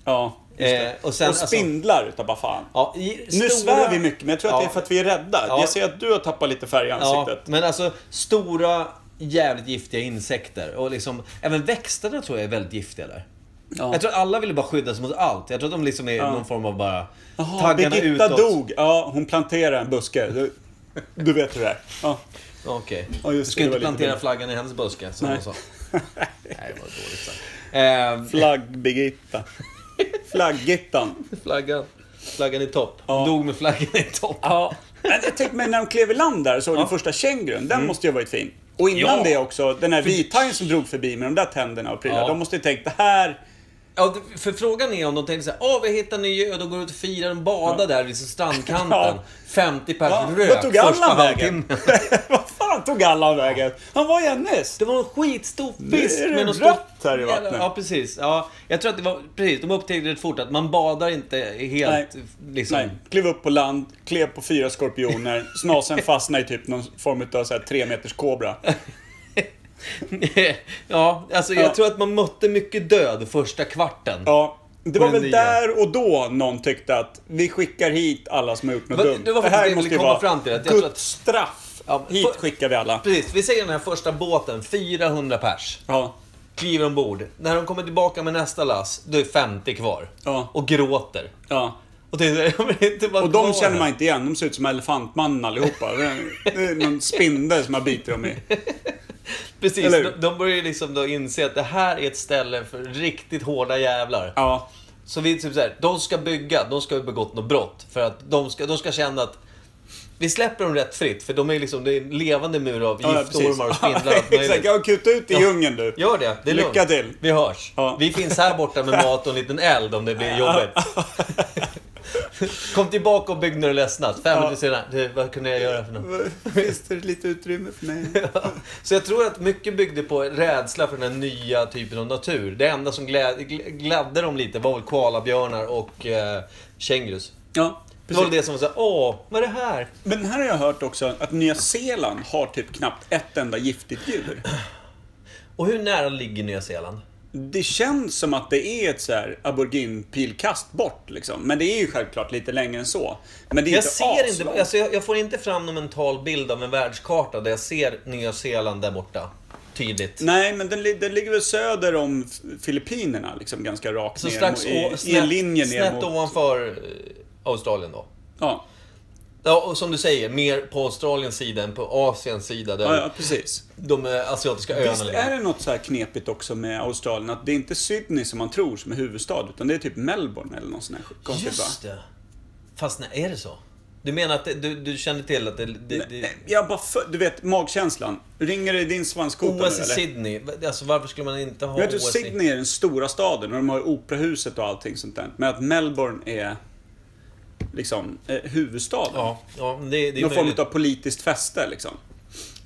Ja, just det. Eh, och sen, och spindlar utav bara fan. Ja, i stora- Nu svär vi mycket, men jag tror att Ja. det är för att vi är rädda. Ja. Jag ser att du har tappat lite färg i Ja, ansiktet. men alltså stora, jävligt giftiga insekter. Och liksom, även växterna tror jag är väldigt giftiga där. Ja. Jag tror att alla vill bara skydda sig mot allt. Jag tror att de liksom är någon form av bara... Jaha, Birgitta dog. Ja, hon planterade en buske. Du, du vet hur det är. Ja. Okej. Ja, du just ska det, det var inte lite plantera dumt. flaggan i hennes buske, som Nej. hon sa. Nej, det var dåligt sagt. Eh, Flagg-Birgitta. Flaggittan. flaggan. Flaggan i topp. Ja. Dog med flaggan i topp. Ja. Men jag tänkte mig när de klev i land där såg den första kängurun. Den måste ju ha varit fin. Och innan Mm. Ja. det också, den här vithajen som drog förbi med de där tänderna och prylar. Ja. De måste ju tänkt, det här... Ja, det- för frågan är om de tänker så här, åh vi hittar en ny ö, de går ut och firar och badar där vid strandkanten. Ja. 50 pers Ja, rök Vad tog Allan första vägen? halvtimmen. Vad fan tog Allan vägen? Han var ju här nyss. Det var en skitstor Nu är fisk det med någon rött här i jävla- vattnet. Ja, precis. Ja, jag tror att det var... Precis, de upptäckte rätt fort att man badar inte helt... Nej. Liksom. Nej, klev upp på land, klev på fyra skorpioner, snasen fastnade i typ någon form av så här tre meters kobra. ja, alltså Ja. jag tror att man mötte mycket död första kvarten. Ja, det På var den väl nya. där och då någon tyckte att vi skickar hit alla som har gjort något Det var- dumt. det var faktiskt det jag ville komma fram till, att jag tror att- Guds straff. Ja, men hit för- skickar vi alla. Precis, vi säger den här första båten, 400 pers. Ja. Kliver ombord. När de kommer tillbaka med nästa lass, då är 50 kvar. Ja. Och gråter. Ja. Och, tänker, "Ja, men det är inte bara Och de kvar känner här." man inte igen. De ser ut som elefantmannen allihopa. Det är- det är någon spindel som har bitit dem i. Precis, Eller hur? de, de börjar ju liksom då inse att det här är ett ställe för riktigt hårda jävlar. Ja. Så vi är typ så här, de ska bygga, de ska ha begått något brott. För att de ska, de ska känna att vi släpper dem rätt fritt, för de är liksom, det är en levande mur av giftormar Ja, och precis. spindlar och allt Exakt, möjligt. ja, kuta ut i djungeln du. Gör det, det är lugnt. Lycka till. Vi hörs. Ja. Vi finns här borta med mat och en liten eld om det blir jobbigt. Kom tillbaka och bygg när du ledsnat. Fem Ja. minuter senare, du, vad kunde jag göra för något? Finns det lite utrymme för mig? Så jag tror att mycket byggde på rädsla för den här nya typen av natur. Det enda som gläd, gl- gladde dem lite var väl koalabjörnar och eh, kängurus. Ja, Det var precis. väl det som var såhär, åh, vad är det här? Men här har jag hört också att Nya Zeeland har typ knappt ett enda giftigt djur. Och hur nära ligger Nya Zeeland? Det känns som att det är ett så här aborigin-pilkast bort liksom. Men det är ju självklart lite längre än så. Men det är Jag inte ser aslångt. inte, alltså jag, jag får inte fram någon mental bild av en världskarta där jag ser Nya Zeeland där borta. Tydligt. Nej, men den, li- den ligger väl söder om F- Filippinerna liksom ganska rakt Så ner Alltså strax mot- å, i, i en linje snett, ner snett mot... ovanför eh, Australien då. Ja, Ja, och som du säger, mer på Australiens sida än på Asiens sida där ja, ja, precis. de eh, asiatiska öarna Visst är det något så här knepigt också med Australien att det är inte Sydney som man tror som är huvudstad utan det är typ Melbourne eller något sånt här konstigt va? Just det. Fast nej, är det så? Du menar att det, du, du känner till att det... det, det Nej, Jag bara för, du vet magkänslan. Ringer det i din svanskota nu OS i eller? Sydney. Alltså varför skulle man inte ha Jag vet du, OS i... Sydney är den stora staden och de har ju operahuset och allting sånt där. Men att Melbourne är liksom eh, huvudstaden. Ja, ja men det, det är Någon form möjligt. av politiskt fäste liksom.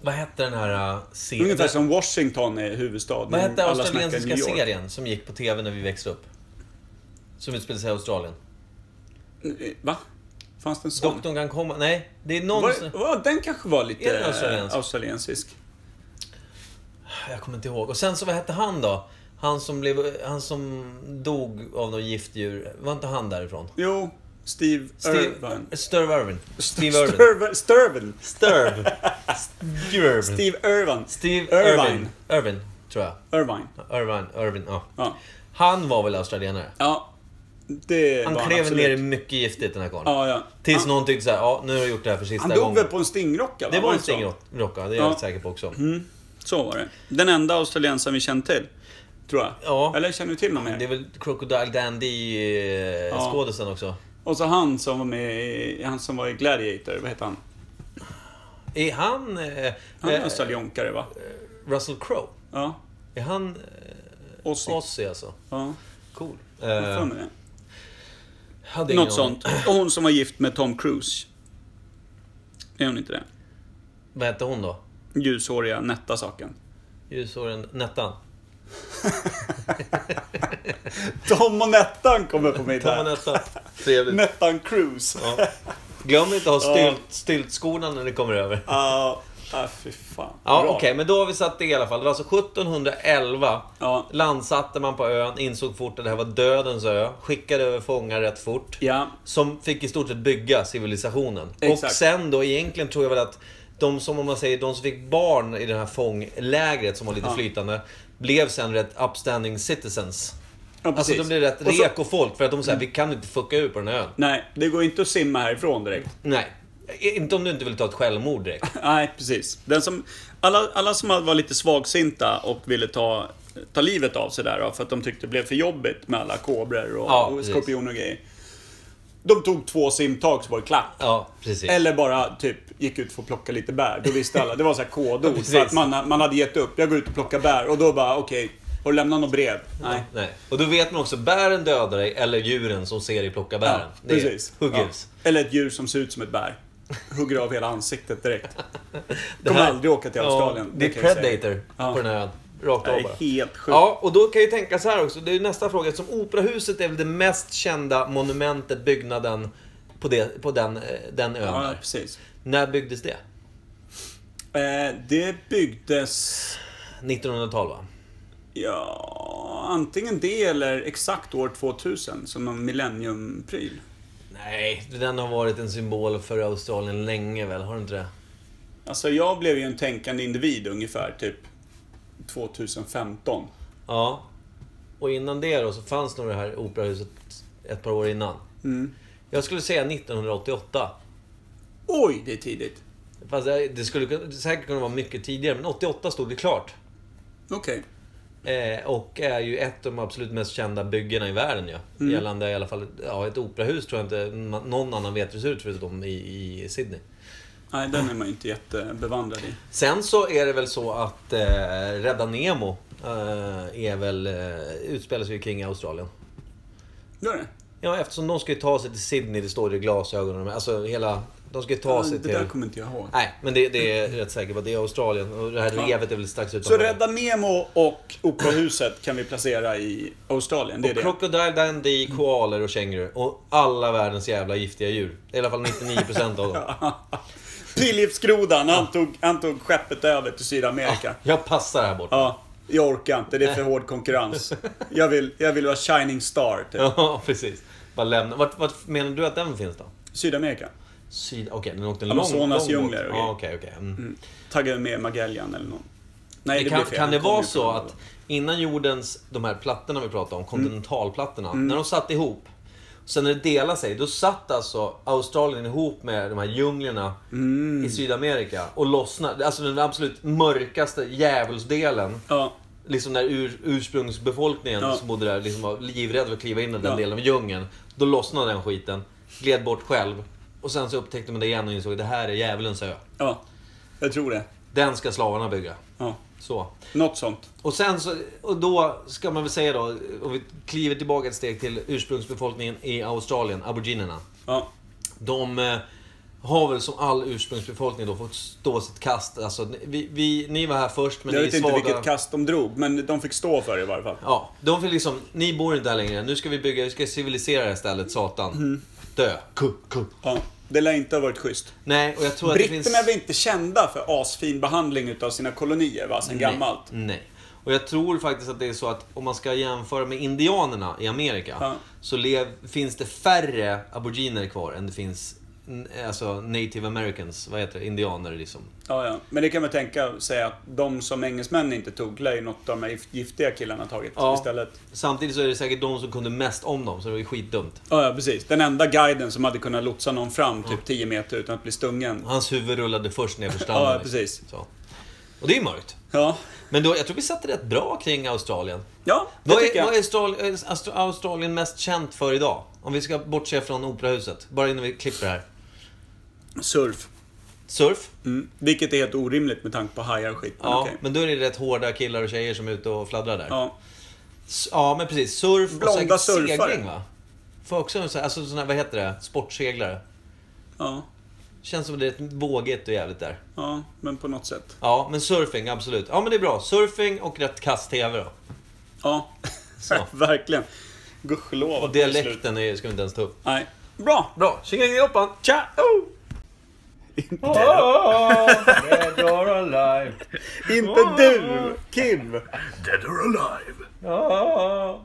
Vad hette den här uh, serien? Ungefär som Washington är huvudstaden. Vad hette Alla snackar australiensiska New York. serien som gick på TV när vi växte upp? Som utspelade sig i Australien. Eh, Va? Fanns det en sån? Doktorn kan komma... Nej, det är någon... som- Var, var, den kanske var lite Är den australiensisk? eh, australiensisk. Ah, Jag kommer inte ihåg. Och sen så, vad hette han då? Han som, blev, han som dog av något giftdjur. Var inte han därifrån? Jo, Steve, Steve... Irwin. Sturve Irwin. Steve Irwin. Sturvin. Sturvin. Sturve. Sturve. Steve Irwin. Steve Irvine. Irvine. Irvine, tror jag. Irvine. Irvine, Irvine, ja. Ja. Han var väl australienare? ja. Det Han var klev absolut. ner i mycket giftigt den här karln. Ja, ja. Tills Han- någon tyckte såhär, ja nu har du gjort det här för sista Han dog gången. väl på en stingrocka? va? Det var en så? stingrocka, det är jag Ja. Mm. helt säker på också. Så var det. Den enda australiensaren vi känner till. Tror jag. Ja. Eller känner du till någon mer? Det är väl Crocodile Dundee skådisen också. Och så han som var med i, Han som var i Gladiator. Vad heter han? Är han... Eh, Han är eh, australionkare va? Russell Crowe? Ja. Är han... Aussie. Eh, Aussie alltså? Ja. Cool. Jag Eh, har för mig hade det. ingen Något aning. sånt. Och hon som var gift med Tom Cruise. Är hon inte det? Vad hette hon då? Ljushåriga nätta saken. Ljushåren Nettan? Tom och Nettan kommer på middag. nästa. Trevligt. Nettan Cruise. Ja. Glöm inte att ha stylt, stiltskorna när ni kommer över. Ja, ah, fy fan. Ja, Bra. okej, men då har vi satt det i alla fall. Det var alltså 1711. Ja. Landsatte man på ön, insåg fort att det här var dödens ö. Skickade över fångar rätt fort. Ja, Som fick i stort sett bygga civilisationen. Och Exakt. sen då egentligen tror jag väl att de som, om man säger, de som fick barn i det här fånglägret som var lite Ja. flytande. Blev sen rätt upstanding citizens. ja precis. Alltså de blev rätt Och så- Mm. reko folk för att de säger vi kan inte fucka ur på den här ön. Nej, det går inte att simma härifrån direkt. Nej. Inte om du inte vill ta ett självmord direkt. Nej, precis. Den som, alla, alla som var lite svagsinta och ville ta, ta livet av sig där då, för att de tyckte det blev för jobbigt med alla kobror och, Ja, och precis. skorpioner och grejer. De tog två simtag så var det klart. Ja, precis. Eller bara typ gick ut för att plocka lite bär. Då visste alla. Det var så här kodord. Precis. för att man, man hade gett upp. Jag går ut och plockar bär. Och då bara, okej. har du lämnat något brev? Nej. Nej. Och då vet man också, bären dödar dig eller djuren som ser dig plocka Ja, bären. det är precis. Huggels. Ja. Eller ett djur som ser ut som ett bär. Hugger av hela ansiktet direkt. Det Kommer här- aldrig åka till Australien. Ja, det kan jag är säga. Predator Ja. på den här ön. Rakt Det av är bara. helt sjukt. Ja, och då kan jag ju tänka så här också. Det är ju nästa fråga. Som operahuset är väl det mest kända monumentet, byggnaden på, det, på den, eh, den ön. Ja, där. precis. När byggdes det? Eh, det byggdes, 1900-tal va? ja, antingen det eller exakt år 2000 som en millenniumpryl. Nej, den har varit en symbol för Australien länge väl? Har du inte det? Alltså jag blev ju en tänkande individ ungefär typ 2015. Ja. Och innan det då så fanns nog det här operahuset ett par år innan. Jag skulle säga 1988. Oj, det är tidigt. Fast det det skulle kun- säkert kunna vara mycket tidigare, men 88 stod det klart. Okej. Eh, och är ju ett av de absolut mest kända byggena i världen ju. Gällande i alla fall ja, ett operahus tror jag inte man- någon annan vet hur det ser ut förutom i, i Sydney. Nej, den är man ju inte jättebevandrad i. Sen så är det väl så att eh, Rädda Nemo eh, är väl, eh, utspelar sig ju kring Australien. Gör det? Ja, eftersom de ska ju ta sig till Sydney, det står det i glasögonen. Alltså hela... De ska ju ta sig det till... där kommer inte jag ihåg. Nej, men det, det är rätt säkert på. Det är Australien och det här Ja. revet är väl strax utanför. Så Rädda Nemo och Operahuset kan vi placera i Australien. Det är Och det. Crocodile Dundee, koalor och känguru. Och alla världens jävla giftiga djur. I alla fall 99% av dem. Pilgrimsgrodan, han tog, han tog skeppet över till Sydamerika. Jag passar här bort. Ja, jag orkar inte. Det är för hård konkurrens. Jag vill, jag vill vara shining star, typ. Ja, precis. Bara lämna. Vart, vart menar du att den finns då? Sydamerika. Syd... Okej, den åkte långt, långt Amazonas bort. djungler och Ja, okej, grejer. okej. Mm. Tagga med Magellan eller någon. Nej, Det det kan, blir fel. kan det Han kom vara ju så från- att innan jordens, de här plattorna vi pratade om, kontinentalplattorna, Mm. när de satt ihop, sen när det delade sig, då satt alltså Australien ihop med de här djunglerna Mm. i Sydamerika och lossnade. Alltså den absolut mörkaste djävulsdelen. Ja, Liksom när ur, ursprungsbefolkningen Ja. som bodde där liksom var livrädd för att kliva in i den Ja. delen av djungeln. Då lossnade den skiten, gled bort själv. Och sen så upptäckte man det igen och insåg att det här är djävulens ö. ja. Jag tror det. Den ska slavarna bygga. Ja. Så. Något sånt. Och sen så, och då ska man väl säga då, om vi kliver tillbaka ett steg till ursprungsbefolkningen i Australien, aboriginerna. Ja. De eh, har väl som all ursprungsbefolkning då fått stå sitt kast. Alltså, ni- vi, vi, ni var här först men Jag ni vet är inte svaga. vilket kast de drog, men de fick stå för det i varje fall. Ja, de fick liksom, ni bor inte här längre, nu ska vi bygga, vi ska civilisera det här stället, satan. Mm. Dö. Ku, ku. Ja. Det lär inte ha varit schysst. Nej, och jag tror att det Britterna finns... är väl inte kända för asfin behandling utav sina kolonier, va? Sen gammalt. Nej, nej. Och jag tror faktiskt att det är så att om man ska jämföra med indianerna i Amerika Ja. så lev, finns det färre aboriginer kvar än det finns n- alltså native americans, vad heter det, indianer liksom. Ja, ja. Men det kan man tänka sig att de som engelsmännen inte tog lär ju något av de här gift- giftiga killarna tagit Ja. istället. Samtidigt så är det säkert de som kunde mest om dem, så det var ju skitdumt. Ja, ja, precis. Den enda guiden som hade kunnat lotsa någon fram typ 10 meter utan att bli stungen. Hans huvud rullade först ner för stranden. Ja, ja, liksom. precis. Så. Och det är ju mörkt. Ja, Men då, jag tror vi satte rätt bra kring Australien. ja det Vad tycker är, vad är jag. Austral- eh, Austr- Australien mest känt för idag? Om vi ska bortse från operahuset, bara innan vi klipper här. Surf. Surf? Mm. Vilket är helt orimligt med tanke på hajar och skit. Men Ja, okej. men då är det rätt hårda killar och tjejer som är ute och fladdrar där. Ja, ja. ja men precis. Surf Blonda och säkert surfare. segling va? Får också en sån här, alltså sån här, vad heter det? Sportseglare. ja. Känns som det är rätt vågigt och jävligt där. Ja, men på något sätt. Ja, men surfing, absolut. Ja, men det är bra. Surfing och rätt kast-TV då. Ja, Så. verkligen. Gudskelov. Och att det är slut. dialekten är, ska vi inte ens ta upp. Nej. Bra! Bra. Tjingelingeloppan! Tja! Dead or alive. Inte du, Kim! Dead or alive.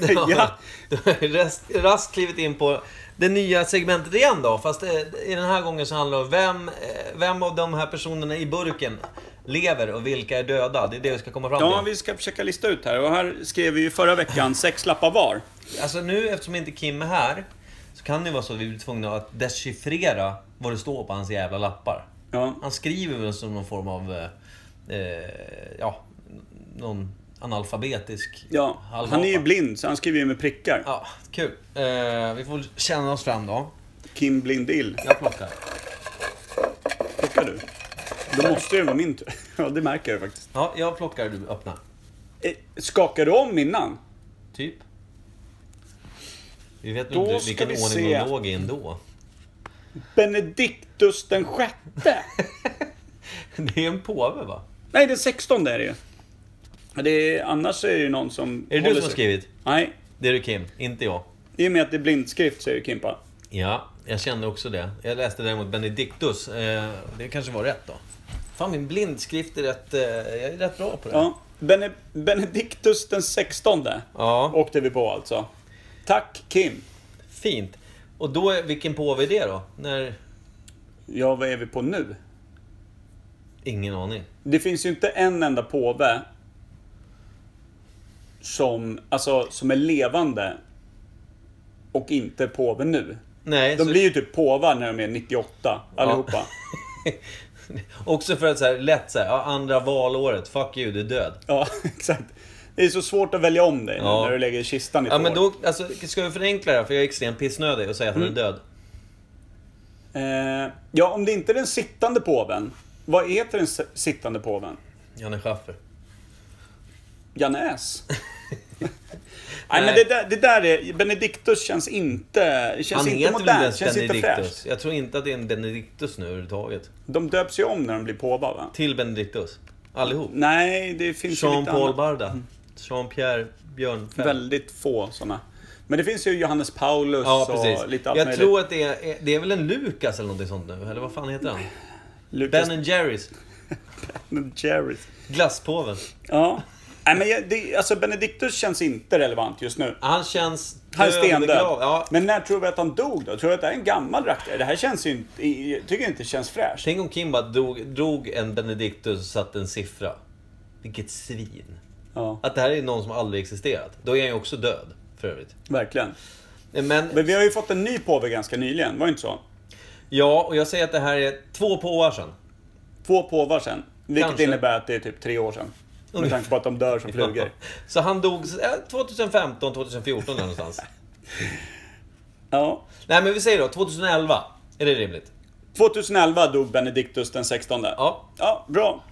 Ja. Rast, rast klivit in på det nya segmentet igen då. Fast eh, i den här gången så handlar det om vem, eh, vem av de här personerna i burken lever och vilka är döda. Det är det vi ska komma fram till. Ja, vi ska försöka lista ut här. Och här skrev vi ju förra veckan sex lappar var. Alltså nu eftersom inte Kim är här så kan det ju vara så att vi blir tvungna att dechiffrera vad det står på hans jävla lappar. Ja. Han skriver väl som någon form av, eh, eh, ja, någon analfabetisk Ja, halvapa. han är ju blind, så han skriver ju med prickar. Ja, kul. Eh, vi får känna oss fram då. Kim Blindill. Jag plockar. Plockar du? Då måste det vara min tur. Ja, det märker jag faktiskt. Ja, jag plockar du öppnar. Eh, Skakar du om innan? Typ. Vi vet nog Då inte ska vilken vi ordning se. de låg i ändå. Benediktus den sjätte! Det är en påve va? Nej, den sextonde är det ju. Men Det är, annars är det ju någon som... Är det håller du som har sig- skrivit? Nej, Det är du Kim, inte jag. i och med att det är blindskrift så är det Kimpa. Ja, jag kände också det. Jag läste däremot Benedictus. Eh, det kanske var rätt då. Fan, min blindskrift är rätt... Eh, jag är rätt bra på det. Ja. Bene, Benediktus den sextonde Ja. åkte vi på alltså. Tack Kim. Fint. Och då, är- vilken påve är det då? När... Ja, vad är vi på nu? Ingen aning. Det finns ju inte en enda påve som, alltså, som är levande och inte påve nu. Nej, De så- blir ju typ påvar när de är 98, allihopa. också för att så här, lätt så här, ja, andra valåret, fuck you, du är död. Ja, exakt. Det är så svårt att välja om dig nu Ja. när du lägger kistan i ett Ja, men år. då, alltså, ska vi förenkla det här? För jag är extremt pissnödig och säga att han är död. Eh, ja, om det inte är den sittande påven. Vad heter den s- sittande påven? Janne Schaffer. Janne S? Nej, men Nej. det där, det där är... Benediktus känns inte... det Känns Han inte heter väl inte modernt, ens känns inte fräscht. Benedictus? Jag tror inte att det är en Benedictus nu överhuvudtaget. De döps ju om när de blir påvar, va? Till Benedictus. Allihop. Nej, det finns ju Mm. lite Jean-Paul annat. Mm. Barda. Jean-Pierre Björnfeldt. Väldigt få sådana. Men det finns ju Johannes Paulus Ja, och precis. lite allt Jag möjligt. tror att det är, det är väl en Lukas eller någonting sånt nu, eller vad fan heter han? Lucas Ben Jerrys. Ben Jerrys. Glasspåven. Ja. Nej, men jag, det, alltså Benediktus känns inte relevant just nu. Han känns Han är död och stendöd. begravd. Ja, Men när tror vi att han dog då? Tror du att det här är en gammal rackare? Det här känns ju inte... Jag tycker inte det känns fräscht. tänk om Kim bara drog, drog en Benedictus och satte en siffra. Vilket svin. Ja, Att det här är någon som aldrig existerat. Då är han ju också död, för övrigt. verkligen. Men Men vi har ju fått en ny påve ganska nyligen, var det inte så? ja, och jag säger att det här är två påvar sedan. Två påvar sen. Vilket Kanske. innebär att det är typ tre år sedan. Med tanke på att de dör som flugor. Så han dog eh, 2015, 2014 där någonstans. Ja. Nej, men vi säger då 2011. Är det rimligt? 2011 dog Benediktus den 16. Ja. Ja, bra.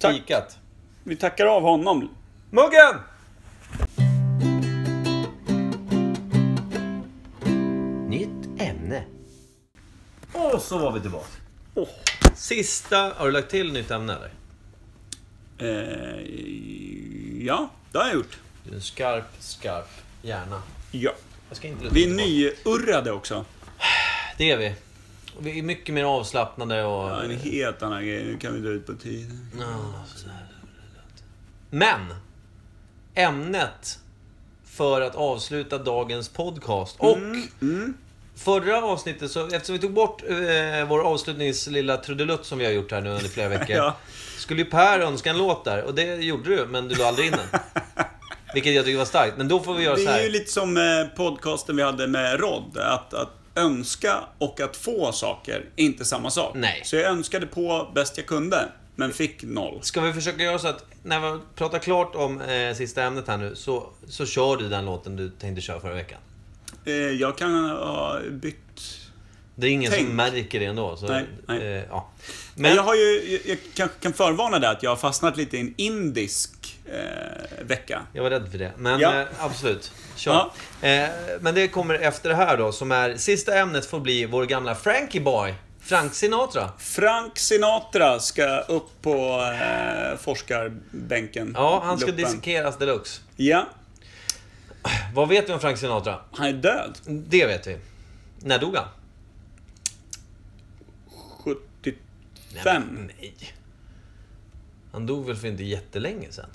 Tack. Spikat. Vi tackar av honom. Muggen! Nytt ämne. Och så var vi tillbaka. Sista... Har du lagt till nytt ämne eller? Eh, ja, det har jag gjort. Du är en skarp, skarp hjärna. Ja. Jag ska inte Vi är nyurrade också. Det är vi. Och Vi är mycket mer avslappnade och... Ja, en helt annan grej. Nu kan vi dra ut på tiden. Ja, så här. Men! Ämnet för att avsluta dagens podcast och Mm, Förra avsnittet, så, eftersom vi tog bort eh, vår avslutningslilla trudelutt som vi har gjort här nu under flera veckor. Ja. Skulle ju Per önska en låt där, och det gjorde du, men du la aldrig in den. Vilket jag tycker var starkt. Men då får vi göra Det så är här. ju lite som eh, podcasten vi hade med Rod. Att, att önska och att få saker är inte samma sak. Nej. Så jag önskade på bäst jag kunde, men fick noll. Ska vi försöka göra så att när vi pratar klart om eh, sista ämnet här nu, så, så kör du den låten du tänkte köra förra veckan. Eh, jag kan ha bytt Det är ingen Tänk. som märker det ändå. Så, Nej, nej. Eh, ja. Men Men jag har ju, jag, jag kanske kan förvarna där att jag har fastnat lite i en indisk eh, vecka. Jag var rädd för det. Men Ja. eh, absolut, kör. Eh, men det kommer efter det här då, som är sista ämnet får bli vår gamla Frankie Boy. Frank Sinatra. Frank Sinatra ska upp på eh, forskarbänken. Ja, han ska Luppen. dissekeras deluxe. Ja, Vad vet vi om Frank Sinatra? han är död. Det vet vi. När dog han? 75. Nej. Han dog väl för inte jättelänge sedan?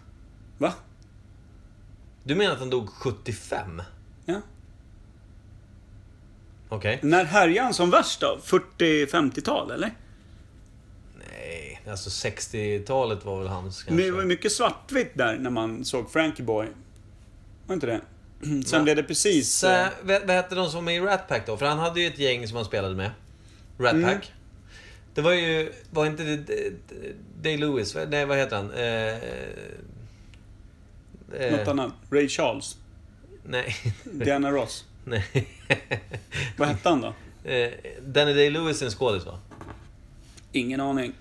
Va? Du menar att han dog 75? Ja. Okej. När härjade han som värst då? 40-50-tal eller? Nej, alltså 60-talet var väl hans Men det kanske. var ju mycket svartvitt där när man såg Frankie Boy. Var inte det? Sen Nej. blev det precis... Så, eh, eh, vad, vad hette de som var i Rat Pack då? För han hade ju ett gäng som han spelade med. Rat Mm. Pack. Det var ju, var inte det det- det- Day Lewis? va? Nej, vad heter han? Eh, eh, Något annat. Ray Charles. Nej, Diana Ross. nej. Vad hette han då? Eh, Danny Day-Lewis är en skådis va? Ingen aning. Mm.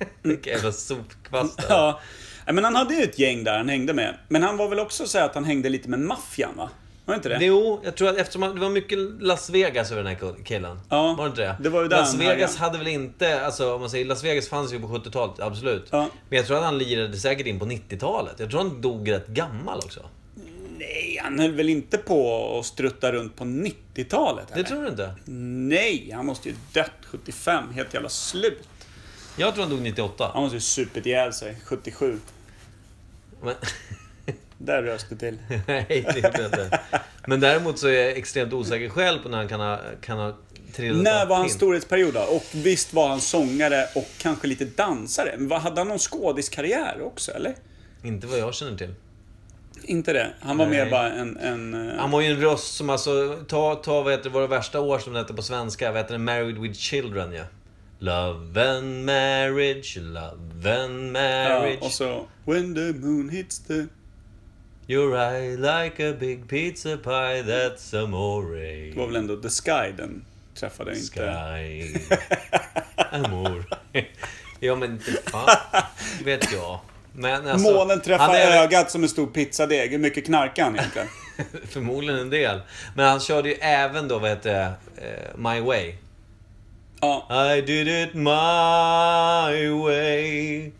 Vilka jävla alltså. sopkvastar. Ja. Nej, Men han hade ju ett gäng där han hängde med. Men han var väl också så här att han hängde lite med maffian va? Var det inte det? Jo, jag tror att eftersom han- det var mycket Las Vegas över den här killen. Ja, var det inte det? det var ju där Las han Vegas härjade. hade väl inte, alltså om man säger Las Vegas fanns ju på 70-talet, absolut. Ja. Men jag tror att han lirade säkert in på 90-talet. Jag tror han dog rätt gammal också. Nej, han höll väl inte på att strutta runt på 90-talet? Det eller? tror du inte? Nej, han måste ju dött 75. Helt jävla slut. Jag tror han dog 98. Han måste ju supit ihjäl sig 77. Men, Där rös det till. nej, det gjorde jag inte. Men däremot så är jag extremt osäker själv på när han kan ha, kan ha trillat När av var hans pinn. storhetsperiod då? Och visst var han sångare och kanske lite dansare. Men vad- hade han någon skådiskarriär också, eller? Inte vad jag känner till. Inte det. Han var Nej. mer bara en... en eh, Han var ju en röst som alltså, ta, ta vad heter det, våra värsta år som det hette på svenska, vad heter det, Married with Children ja. Love and marriage, love and ja, marriage. och så... When the moon hits the... Your eye like a big pizza pie, that's amore. Det var väl ändå The Sky den träffade inte. Sky. Amor. ja men inte fan vet jag. Men alltså, Månen träffar han är- ögat som en stor pizzadeg. Hur mycket knarkar han egentligen? Förmodligen en del. Men han körde ju även då, vad heter det, eh, My Way. ja, I did it my way.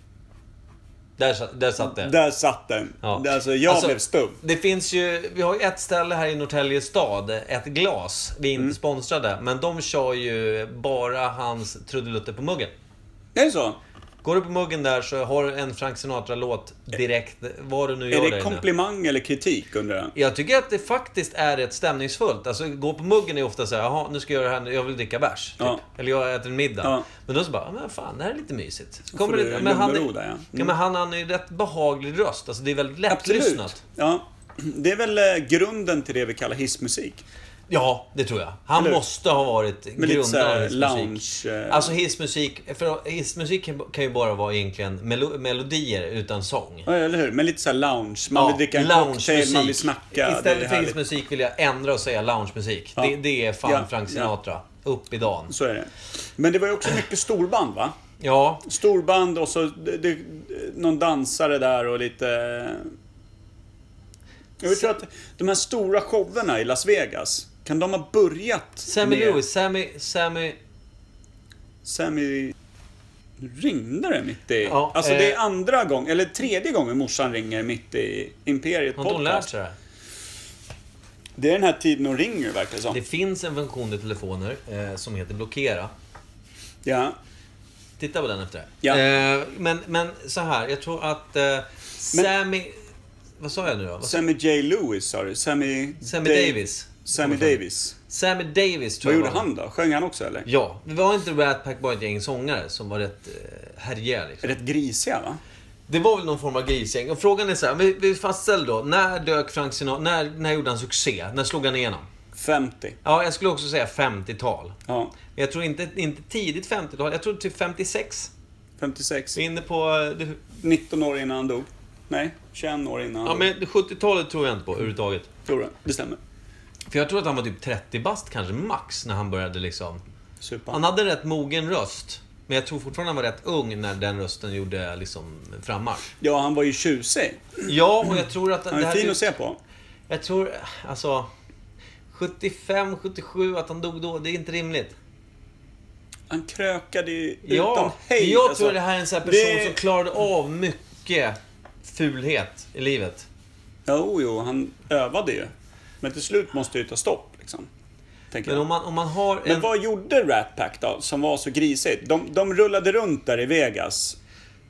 Där, sa- där satt det. där satt den. Ja. Där, alltså, jag Alltså, blev stum. Det finns ju, vi har ju ett ställe här i Norrtälje stad, ett glas. Vi är Mm. inte sponsrade, men de kör ju bara hans trudelutter på muggen. Det är så? Går du på muggen där så har du en Frank Sinatra-låt direkt, vad du nu gör Är där det inne. komplimang eller kritik undrar jag? Jag tycker att det faktiskt är rätt stämningsfullt. Alltså, gå på muggen är ofta så här, jaha, nu ska jag göra det här, jag vill dricka bärs. Typ. Ja. Eller jag äter en middag. Ja. Men då så bara, ja, men fan, det här är lite mysigt. får du lite- lugn han, och är- ro där, ja. Mm. ja, men han, han är ju rätt behaglig röst. Alltså, det är väldigt lättlyssnat. Absolut. Ja. Det är väl eh, grunden till det vi kallar hissmusik. Ja, det tror jag. Han Eller hur? måste ha varit Med lite så grundare här av lounge... hissmusik. eh, Alltså hissmusik, för hissmusik kan- kan ju bara vara egentligen melo- melodier utan sång. Ja, eller hur? Men lite så här lounge. Man vill dricka en cocktail, man vill snacka. det är Istället för härligt. hissmusik vill jag ändra och säga loungemusik. Ja. Det, det är fan Ja, Frank ja. Sinatra. Upp i dagen. Så är det. Men det var ju också mycket storband va? Ja, Storband och så det, det, någon dansare där och lite... Jag vill tro att de här stora showerna i Las Vegas, kan de ha börjat Sammy med... Lewis, Sammy, Sammy... Sammy... Nu ringde det mitt i... Ja, alltså det är eh. andra gången, eller tredje gången morsan ringer mitt i Imperiet Har inte hon lärt Podcast. sig det här? Det är den här tiden hon ringer verkar det Det som. finns en funktion i telefoner eh, som heter blockera. Ja. Titta på den efter det Ja. här. eh, men, men så här, jag tror att eh, Sammy... Vad sa jag nu då? Vad sa- Sammy J. Lewis sa du? Sammy... Sammy Dave- Davis. Sammy Davis. Sammy Davis tror Vad jag gjorde var. han då? Sjöng han också eller? Ja, det var inte Rat Pack bara ett gäng sångare som var rätt eh, härjiga liksom. Rätt grisiga va? Det var väl någon form av grisgäng. Och frågan är så här, vi, vi fastställer då. När dök Frank Sinatra, när, när gjorde han succé? När slog han igenom? 50. Ja, jag skulle också säga 50-tal. Ja. Men jag tror inte, inte tidigt 50-tal, jag tror typ 56. 56. Vi är inne på... eh, det- 19 år innan han dog. Nej, 21 år innan han Ja, dog. men 70-talet tror jag inte på överhuvudtaget. Tror jag. Det stämmer. För jag tror att han var typ 30 bast kanske, max, när han började liksom... Supa. Han hade en rätt mogen röst. Men jag tror fortfarande han var rätt ung när den rösten gjorde liksom frammarsch. Ja, han var ju tjusig. Ja, och jag tror att... Han är här fin är- att se på. Jag tror, alltså... 75, 77, att han dog då, det är inte rimligt. Han krökade ju utan Ja, hejd. jag alltså. tror det här är en sån här person Det- som klarade av mycket fulhet i livet. Jo, jo, han övade ju. Men till slut måste det ju ta stopp, liksom. Tänker Men jag. om man, om man har Men en... vad gjorde Rat Pack då, som var så grisigt? De, de rullade runt där i Vegas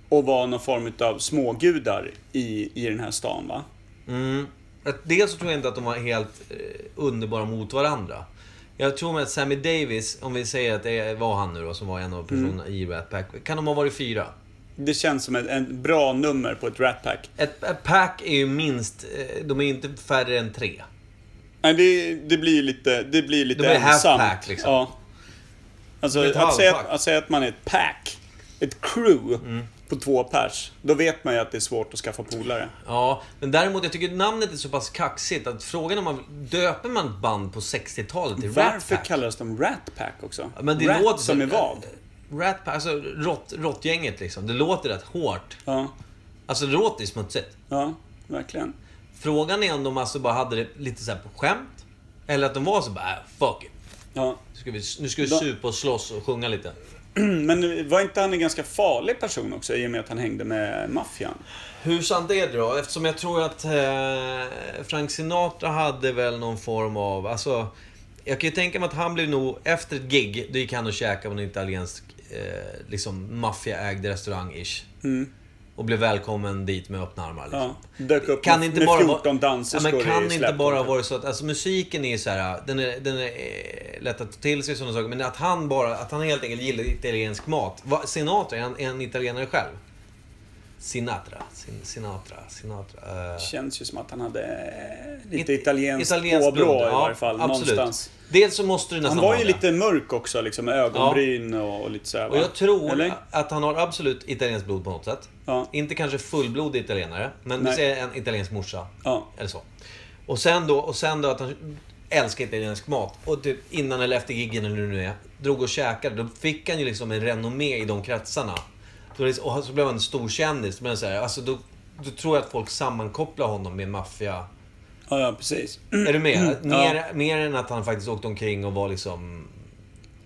och var någon form av smågudar i, i den här stan, va? Mm, att dels så tror jag inte att de var helt eh, underbara mot varandra. Jag tror med att Sammy Davis, om vi säger att det var han nu då, som var en Mm. av personerna i Rat Pack. Kan de ha varit fyra? Det känns som ett, ett bra nummer på ett Rat Pack. Ett, ett pack är ju minst, eh, de är ju inte färre än tre. Nej, det, det blir lite, det blir lite De är half ensamt. pack, liksom. Ja. Alltså, Ett att säga, halvpack. Mm. att säga att man är ett pack, ett crew, på två pers, då vet man ju att det är svårt att skaffa polare. Ja, men däremot jag tycker namnet är så pass kaxigt att frågan om man döper man ett band på 60-talet till Rat Varför Pack? kallades de Rat Pack också? Men det Rat låter som är vad? Rat Pack, alltså rått- råttgänget liksom. Det låter rätt hårt. Ja, Alltså det låter ju smutsigt. ja, verkligen. Frågan är om de alltså bara hade det lite så här på skämt. Eller att de var så bara, "Äh, fuck it. Ja. Nu ska vi, nu ska vi De- supa och slåss och sjunga lite. Men var inte han en ganska farlig person också i och med att han hängde med maffian? Hur sant är det då? Eftersom jag tror att eh, Frank Sinatra hade väl någon form av... Alltså, jag kan ju tänka mig att han blev nog... Efter ett gig, då gick han och käkade på en italiensk eh, liksom, maffiaägd restaurang-ish. Och blev välkommen dit med öppna armar. Liksom. Ja, dök upp Kan med, inte med bara 14 vara, danserskor ja, men i Kan inte släptåg. bara vara så att, alltså musiken är ju så här, den är, den är eh, lätt att ta till sig och sådana saker. Men att han bara, att han helt enkelt gillar italiensk mat. Vad- Sinatra, är han, är han italienare själv? Sinatra, Sin, Sinatra, Sinatra. eh, Känns ju som att han hade eh, lite it- italienskt italienskt påbrå blod, i ja, varje fall. absolut. Någonstans. Dels så måste du nästan Han var ha ju det. lite mörk också, liksom, med ögonbryn och, och lite sådär. va? Och jag tror Eller? att han har absolut italienskt blod på något sätt. Ja. Inte kanske fullblodig italienare, men vi Nej. säger en italiensk morsa. Ja. Eller så. Och sen då, och sen då att han älskar italiensk mat. Och typ innan eller efter giggen eller hur det nu är, drog och käkade. Då fick han ju liksom en renommé i de kretsarna. Då är det- Och så blev han en stor kändis. Men så här, alltså då, då tror jag att folk sammankopplar honom med maffia. Ja, ja, precis. Är du med? Mer, Ja. mer än att han faktiskt åkte omkring och var liksom...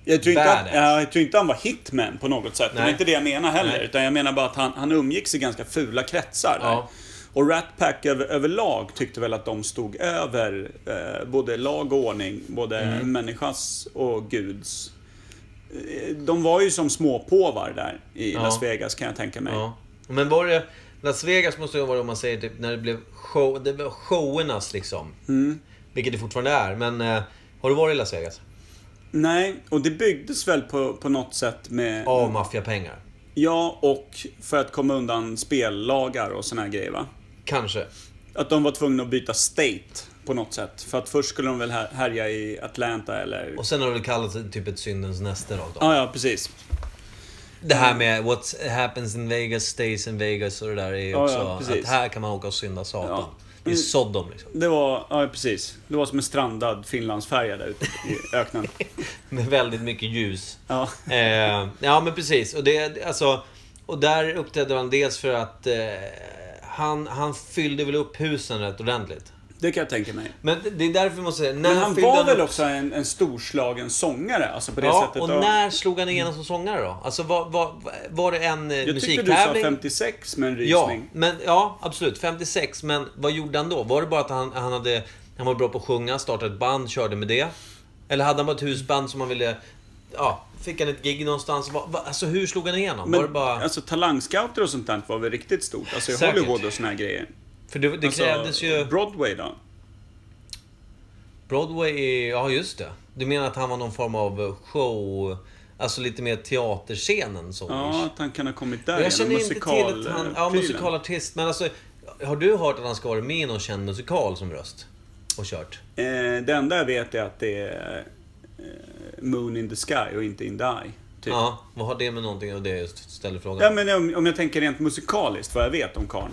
Jag tror, inte att, Badass. ja, jag tror inte han var hitman på något sätt. Det var Nej. inte det jag menar heller. Nej. Utan jag menar bara att han, han umgicks i ganska fula kretsar. där. Ja. Och Rat Pack över, överlag tyckte väl att de stod över eh, både lag och ordning. Både Mm. människas och Guds. Eh, De var ju som småpåvar där i Ja. Las Vegas kan jag tänka mig. Ja. Men var det... Las Vegas måste ju vara det om man säger typ när det blev show... Det var showernas liksom. Vilket det fortfarande är. Men eh, har du varit i Las Vegas? Nej, och det byggdes väl på, på något sätt med... Av maffiapengar. Ja, och för att komma undan spellagar och såna här grejer va? Kanske. Att de var tvungna att byta state på något sätt. För att först skulle de väl här- härja i Atlanta eller... Och sen har det kallats typ ett syndens näste av dem. Ja, ja, precis. Det här med what happens in Vegas stays in Vegas och det där är ju Ja, också... ja, precis. att här kan man åka och synda satan. Ja. Det är Sodom liksom. Det var, ja, precis. Det var som en strandad finlandsfärja där ute i öknen. Med väldigt mycket ljus. Ja. Eh, ja men precis. Och, det, alltså, och där uppträdde han dels för att eh, han, han fyllde väl upp husen rätt ordentligt. Det kan jag tänka mig. Men det- det är därför vi måste säga, när Men han fyllde var väl upp- också en, en storslagen sångare, alltså på det Ja, sättet. och Ja. när slog han igenom som sångare då? Alltså var, var, var det en eh, Jag tyckte du musiktävling? sa 56 med en Ja, rysning. men, ja, absolut. 56. Men vad gjorde han då? Var det bara att han, han, hade, han var bra på att sjunga, startade ett band, körde med det? Eller hade han bara ett husband som han ville... Ja, fick han ett gig någonstans? Va, va, alltså hur slog han igenom? var det Men bara... alltså talangscouter och sånt där var väl riktigt stort? Alltså i Säkert. Hollywood och såna här grejer. för det, det alltså, krävdes ju... Broadway då? Broadway är... Ja, just det. Du menar att han var någon form av show... Alltså lite mer teaterscenen så Ja, ish. att han kan ha kommit där Jag känner genom inte till att han... Ja, musikal- musikalartist. Men alltså, har du hört att han ska vara med i någon känd musikal som röst? Och kört? Eh, det enda jag vet är att det är eh, Moon in the Sky och inte In the Eye. Typ. Ja. Ja, vad har det med någonting och det jag just ställer frågan? Ja, men om, om jag tänker rent musikaliskt, vad jag vet om karln.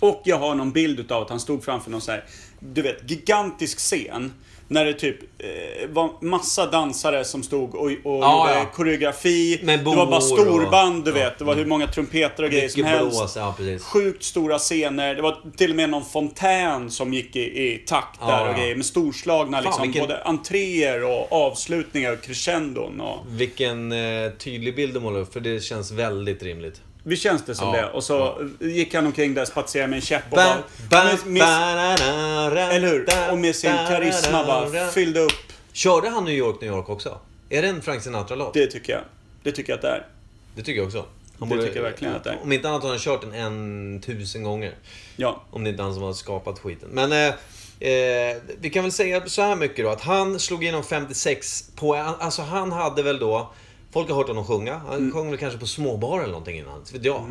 och jag har någon bild utav att han stod framför någon så här, du vet, gigantisk scen. När det typ eh, var massa dansare som stod och, och Ja, gjorde ja. koreografi. Med det var bara bor och- storband, du vet. Det var hur många trumpeter och grejer som Mycket helst. blås, ja precis. Sjukt stora scener. Det var till och med någon fontän som gick i, i takt Ja, där och ja. grejer. Med storslagna liksom, vilken- både entréer och avslutningar och crescendon. Och... Vilken eh, tydlig bild du målar upp, för det känns väldigt rimligt. Vi känns det som Ja, det. Och så gick han omkring där, spatserade med en käpp och Ba, bara... ba, Med, med, ba-ra-ra, eller hur? da, Och med sin da-ra-ra. karisma bara fyllde upp. Körde han New York, New York också? Är det en Frank Sinatra-låt? Det, Det tycker jag. Det tycker jag att det är. tycker jag också. Han Det tycker jag verkligen att det är. Om inte annat har han kört den en tusen gånger. Ja. Om det inte är han som har skapat skiten. Men eh, eh, vi kan väl säga så här mycket då. Att han slog igenom 56 på... Alltså han hade väl då... Folk har hört honom sjunga. Han Mm. sjöng väl kanske på småbar eller någonting innan. Inte vet jag.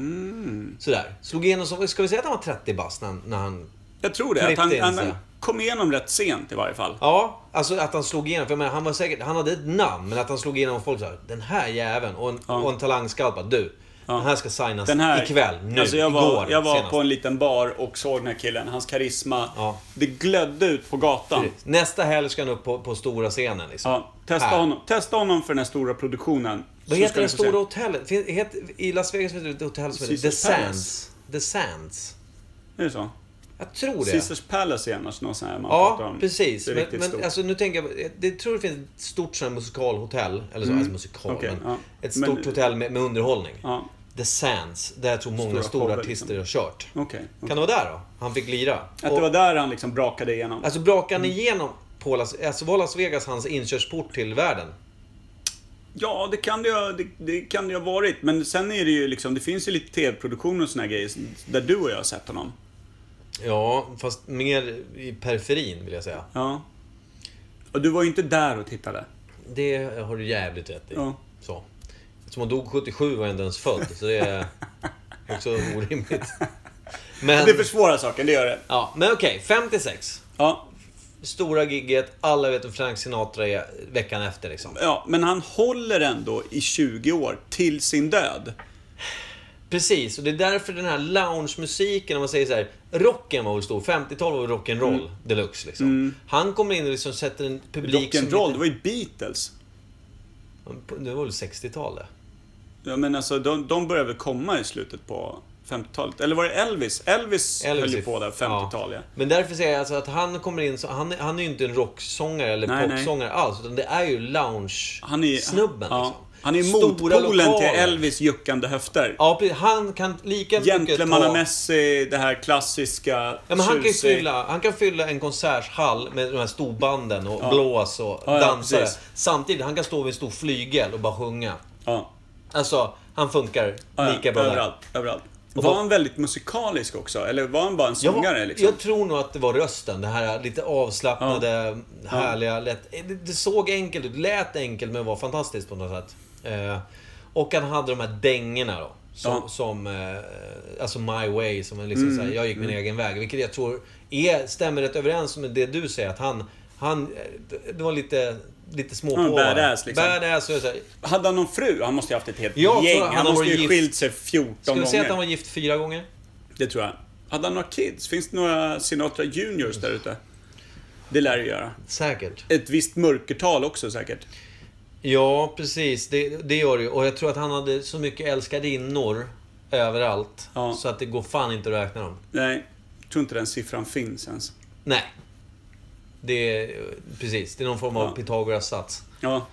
Sådär. Slog igenom som... Ska vi säga att han var 30 bast när, när han... Jag tror det. Att Klippte han, in sig. han kom igenom rätt sent i varje fall. Ja, alltså att han slog igenom. För jag menar, han var säkert... Han hade ett namn. Men att han slog igenom och folk sa Den här jäveln. Och en, och en talangscout bara, Du. Den här ska signas Den här, ikväll. Nu. alltså jag var, igår. jag var senast. på en liten bar och såg den här killen. Hans karisma. Ja. Det glödde ut på gatan. Precis. Nästa helg ska han upp på, på stora scenen liksom. Ja, testa, Här. honom, testa honom för den här stora produktionen. Vad så heter ska det ni få se. stora hotellet? Fin- het- I Las Vegas finns det ett hotell som heter The Caesar's Palace. Sands. The Sands. Är det så? Jag tror det. Caesars Palace är annars någon sån här man pratar Ja, om. precis. Det är Men, riktigt men stort. alltså, nu tänker jag, det tror det finns ett stort sånt här musikalhotell. Eller så, alltså musikal, Mm. Okej, men ja. ett Men- stort hotell med, med underhållning. Ja, The Sands, där jag tror många Stora stora, shower, liksom. artister har kört. okej. Kan det vara där då? Han fick lira. Att Mm. det Och- var där han liksom brakade igenom. Alltså brakade han igenom på Las, alltså, var Las Vegas hans inkörsport till världen? Ja, det kan det, ju ha- det, det kan det ju ha varit. Men sen är det ju liksom, det finns ju lite tv-produktioner och såna här grejer där du och jag har sett honom. Ja, fast mer i periferin vill jag säga. Ja. Och du var ju inte där och tittade. Det har du jävligt rätt i. Ja. Så. Eftersom hon dog 77 var jag inte ens född, så det är också orimligt. Men, Det försvårar saken, det gör det. ja, men okej, 56. Ja, Stora gigget, alla vet vem Frank Sinatra är veckan efter liksom. ja, men han håller ändå i 20 år till sin död. Precis, och det är därför den här loungemusiken, om man säger så här, rocken var väl stor, 50-tal var väl rock'n'roll Mm. deluxe liksom. Han kommer in och liksom sätter en publik som... Rock'n'roll, det var ju Beatles. Lite, det var väl 60-tal det? Ja, men alltså, de, de började väl komma i slutet på 50-talet. Eller var det Elvis? Elvis, höll ju är- på där, 50-tal ja. Men därför säger jag alltså att han kommer in så, han, han är ju inte en rocksångare eller Nej, nej. popsångare alls. Utan det är ju Han är, lounge-snubben. ja, liksom. han är Stora motpolen till lokaler. Elvis juckande höfter. Ja, precis. Han kan lika Gentlemannamässig, det här klassiska, Ja, men han, kan ju tjusiga. fylla, han kan fylla en konserthall med de här storbanden och blås och Ja, ja, dansare. precis. Samtidigt, han kan stå vid en stor flygel och bara sjunga. Ja, Alltså, han funkar ja, lika bra där. överallt, överallt. Och Var vad- han väldigt musikalisk också? Eller var han bara en Jag, sångare liksom? jag tror nog att det var rösten. Det här lite avslappnade, härliga, lätt. eh, Det, det såg enkelt ut, lät enkelt men var fantastiskt på något sätt. Eh, och han hade de här dängorna då. Som, Ja. Mm, som eh, alltså My Way, som är liksom så här, jag gick min egen väg. Vilket jag tror är, stämmer rätt överens med det du säger. Att han, han eh, det var lite, lite småpåvar. badass, liksom. Badass och så här. Hade han någon fru? Han måste ju haft ett helt Jag tror gäng. han Han, måste var ju gift. skilt sig 14 Ska vi gånger. säga att han var gift fyra gånger? Det tror jag. Hade han några kids? Finns det några Sinatra Juniors där ute? Det lär det göra. Säkert. Ett visst mörkertal också säkert. Ja, precis. Det, det gör det ju. Och jag tror att han hade så mycket älskarinnor överallt. Ja. Så att det går fan inte att räkna dem. Nej, jag tror inte den siffran finns ens. Nej. Det är, precis, det är någon form av Ja. Pythagoras sats. Ja,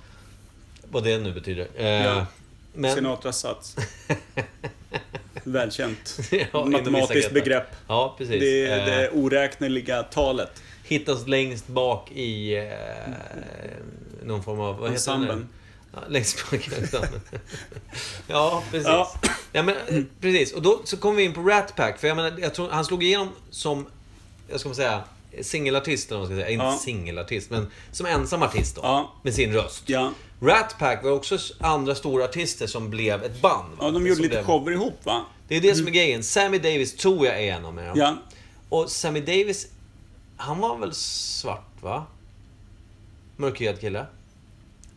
Vad det nu betyder. Eh, Ja. Men, Sinatras sats. Välkänt Ja, inom vissa matematiskt greppar. begrepp. ja, precis. Det, Eh, det oräkneliga talet. Hittas längst bak i eh, någon form av... Vad heter det nu? Ensemblen. Ja, längst bak i ensemblen. ja, precis. Ja. Ja. men, eh, precis. Och då så kom vi in på Rat Pack. För jag menar, jag tror, han slog igenom som, jag ska man säga, singelartist eller vad man ska säga. Inte Ja. singelartist, men som ensam artist då. Ja. Med sin röst. Ja. Rat Pack var också s- andra stora artister som blev ett band. va? Ja, de Som gjorde lite blev- shower ihop va? Det är det som är grejen. Sammy Davis tror jag är en av dem. Ja. Och Sammy Davis, han var väl svart va? Mörkhyad kille.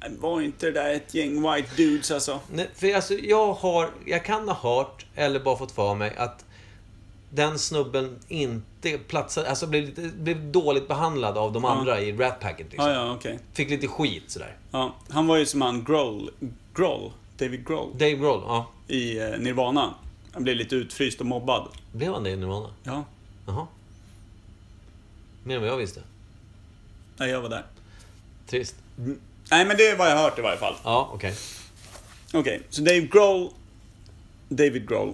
Var inte det där ett gäng white dudes alltså? Nej, för alltså, jag, har, jag kan ha hört, eller bara fått för mig, att den snubben inte platsade, alltså blev, lite, blev dåligt behandlad av de andra i Rat Packet. Liksom. Ja, ja, okej. Fick lite skit sådär. Ja, han var ju som han Grohl, Grohl David Grohl, Dave Grohl, ja. i eh, Nirvana. Han blev lite utfryst och mobbad. Blev han det i Nirvana? Ja, Jaha. Mer än vad jag visste. nej, jag var där. Trist. Nej, men det är vad jag har hört i varje fall. Ja, okej. Okej, så Dave Grohl, David Grohl,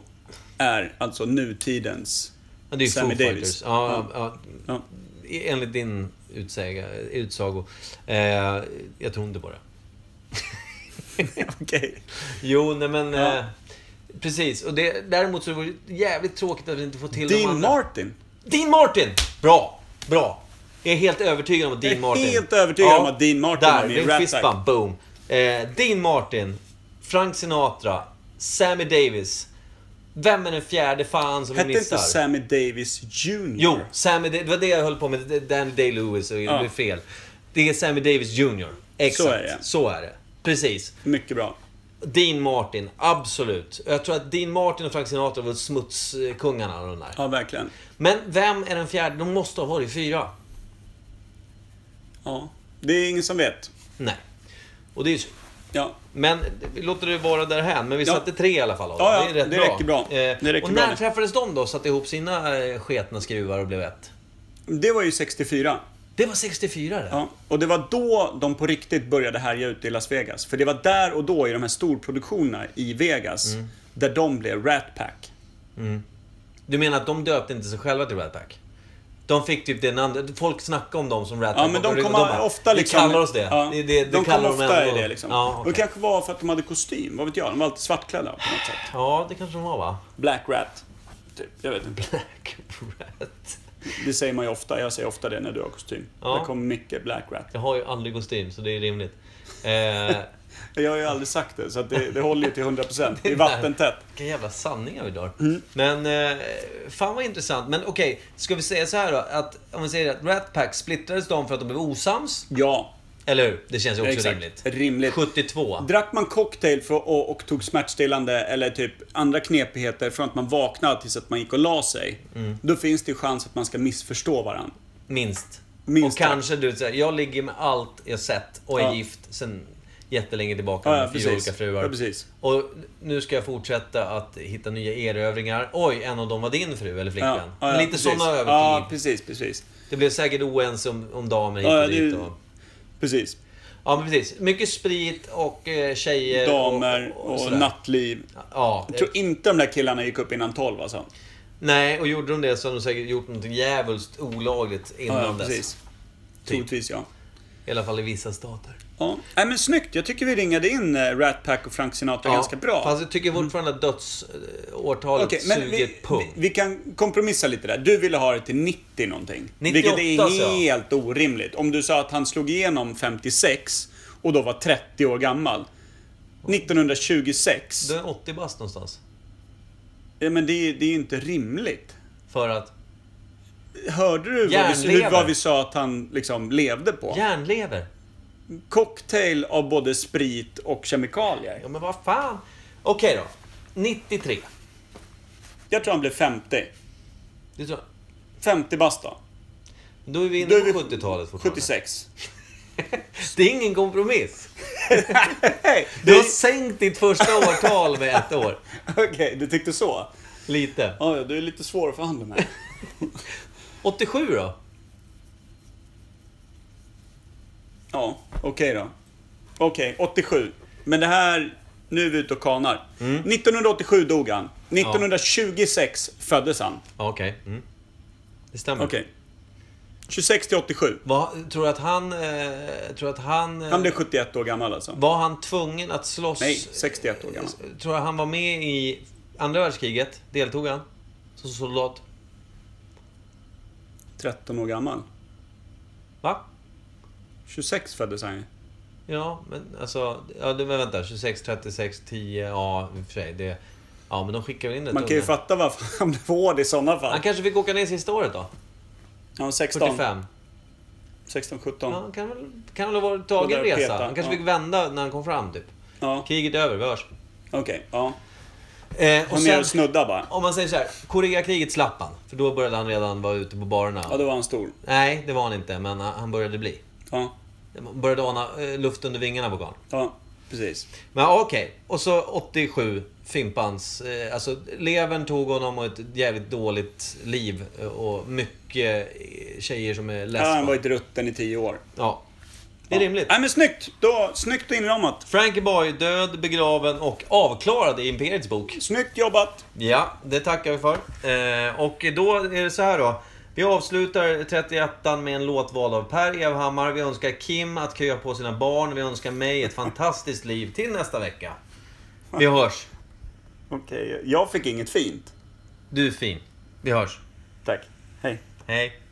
är alltså nutidens... Men Det är ju Foo Sammy Fighters. Davis. Ja, ja. Ja. Enligt din utsäga, utsago. Eh, jag tror inte på det. Okej. Jo, nej men... Ja. Eh, precis. Och det, däremot så vore det jävligt tråkigt att vi inte får till de Dean andra. Martin. Dean Martin! Bra! Bra! Jag är helt övertygad om att Dean är Martin... helt övertygad om att Dean Martin var där, med i Där, Rat blev fist bump, Pack. boom. Eh, Dean Martin, Frank Sinatra, Sammy Davis. Vem är den fjärde fan som vi Hette missar? inte Sammy Davis Jr? Jo, Sammy, det var det jag höll på med. Danny Day-Lewis och det Ja. blev fel. Det är Sammy Davis Jr. Exakt. Så är det. Så är det. Precis. Mycket bra. Dean Martin, absolut. Jag tror att Dean Martin och Frank Sinatra var smutskungarna av de där. Ja, verkligen. Men vem är den fjärde? De måste ha varit fyra. Ja. Det är ingen som vet. Nej. Och det är ju synd. Ja. Men vi låter det vara därhän. Men vi Ja. satte tre i alla fall. av Ja, dem. ja, det räcker bra. Eh, Det räcker och bra när det. träffades de då? Satte ihop sina eh, sketna skruvar och blev ett? Det var ju 64. Det var 64 det. Ja. Och det var då de på riktigt började härja ute i Las Vegas. För det var där och då i de här storproduktionerna i Vegas, Mm. där de blev Rat Pack. Du menar att de döpte inte sig själva till Rat Pack? De fick typ den andra... Folk snackade om dem som Rat Pack. Ja, men de och kommer bara, ofta liksom... Vi kallar oss det. Ja, det, det, det de kallar kommer ofta i ändå. det liksom. Ja, Och okej. det kanske var för att de hade kostym, vad vet jag? De var alltid svartklädda på något sätt. ja, det kanske de var va? Black Rat. Typ, jag vet inte. Black Rat. Det säger man ju ofta. Jag säger ofta det när du har kostym. Ja. Det kommer mycket Black Rat. Jag har ju aldrig kostym, så det är rimligt. Eh, Jag har ju aldrig sagt det, så att det, det håller ju till 100%. Det är vattentätt. Vilka jävla sanningar vi drar. Mm. Men, eh, fan vad intressant. Men okej, ska vi säga så här då? Att, om vi säger att Rat Pack splittrades de för att de blev osams? Ja, Eller hur? Det känns ju också exakt. rimligt. Rimligt. 72. Drack man cocktail för, och, och tog smärtstillande eller typ andra knepigheter från att man vaknade tills att man gick och la sig. Mm. Då finns det ju chans att man ska missförstå varandra. Minst. Minst, och ja. kanske du säger, jag ligger med allt jag sett och är Ja. gift sen jättelänge tillbaka Ja, med ja, fyra precis. olika fruar. Ja, precis. Och nu ska jag fortsätta att hitta nya erövringar. Oj, en av dem var din fru eller flickvän. Lite precis. sådana övertygg. Ja, precis, precis. det blev säkert oense om, om damer hit och Ja, ja, dit. det- Och... Precis. Ja, men precis. Mycket sprit och eh, tjejer. Damer och sådär. nattliv. Ja. Jag tror inte de där killarna gick upp innan 12 alltså. Nej, och gjorde de det så hade de säkert gjort något djävulskt olagligt innan Ja, ja dess. Typ. precis. Troligtvis ja. I alla fall i vissa stater. ja. Nej men snyggt. Jag tycker vi ringade in eh, Rat Pack och Frank Sinatra ganska bra. Mm. Fast jag tycker fortfarande att dödsårtalet Okej, men suger vi, vi, pung. vi kan kompromissa lite där. Du ville ha det till 90 någonting. 98 vilket sa är jag. helt orimligt. Om du sa att han slog igenom 56 och då var 30 år gammal. 1926. Du är 80 bast någonstans. Ja, men det, är- det är ju inte rimligt. För att... Hörde du vad vi, Järnlever. hur, vad vi sa att han liksom levde på? Järnlever. Cocktail av både sprit och kemikalier. Ja, men vad fan. Okej då. 93. Jag tror han blev 50. Det tror jag. 50 bast då. Då är vi Då är inne vi på 70-talet fortfarande. 76. Det är ingen kompromiss. Hej! Du har det- sänkt ditt första årtal med ett år. Okej, du tyckte så? Lite. Ja, ja, du är lite svår att förhandla med. 87 då? Ja, okej då. Okej, 87. Men det här... Nu är vi ute och kanar. Mm. 1987 dog han. 1926 föddes han. Ja, okej. Mm. Det stämmer. Okej. 26 till 87. Vad, tror du att han... Eh, tror du att han... eh, Han blev 71 år gammal alltså. Var han tvungen att slåss? Nej, 61 år gammal. Tror du han var med i andra världskriget? Deltog han? Som soldat? 13 år gammal. Va? 26 föddes han ju. Ja, men alltså... Ja, det- men vänta. 26, 36, 10... Ja, i och för sig. Det, ja, men de skickar väl in det. Man kan ju fatta varför han blev hård i sådana Han fall. kanske fick åka ner sista året då? Han var 16, 45? 16, Ja, 17. han kan väl, kan väl ha varit Och tagen där resa? peta, Han kanske ja. fick vända när han kom fram, typ. Ja, Kriget är över, vi hörs. okej. ja. Eh, och Han ner sen, och snudda bara. om man säger så här, Koreakriget slapp han. För då började han redan vara ute på barerna. Ja, då var han stor. Nej, det var han inte, men eh, han började bli. Ja, Man började ana eh, luft under vingarna på karln. ja precis. Men ja, okej, och så 87, Fimpans. Eh, alltså, levern tog honom och ett jävligt dåligt liv. eh, Och mycket eh, tjejer som är Ja, han less. var Ja, ju rutten i tio år. Det är rimligt. Nej, men snyggt! Då, snyggt och inramat. Frankie Boy, död, begraven och avklarad i Imperiets bok. Snyggt jobbat! Ja, det tackar vi för. Eh, och då är det så här då. Vi avslutar 31 med en låtval av Per Evhammar. Vi önskar Kim att köa på sina barn. Vi önskar mig ett fantastiskt liv till nästa vecka. Vi hörs. Okej, jag fick inget fint. Du är fin. Vi hörs. Tack. Hej. Hej.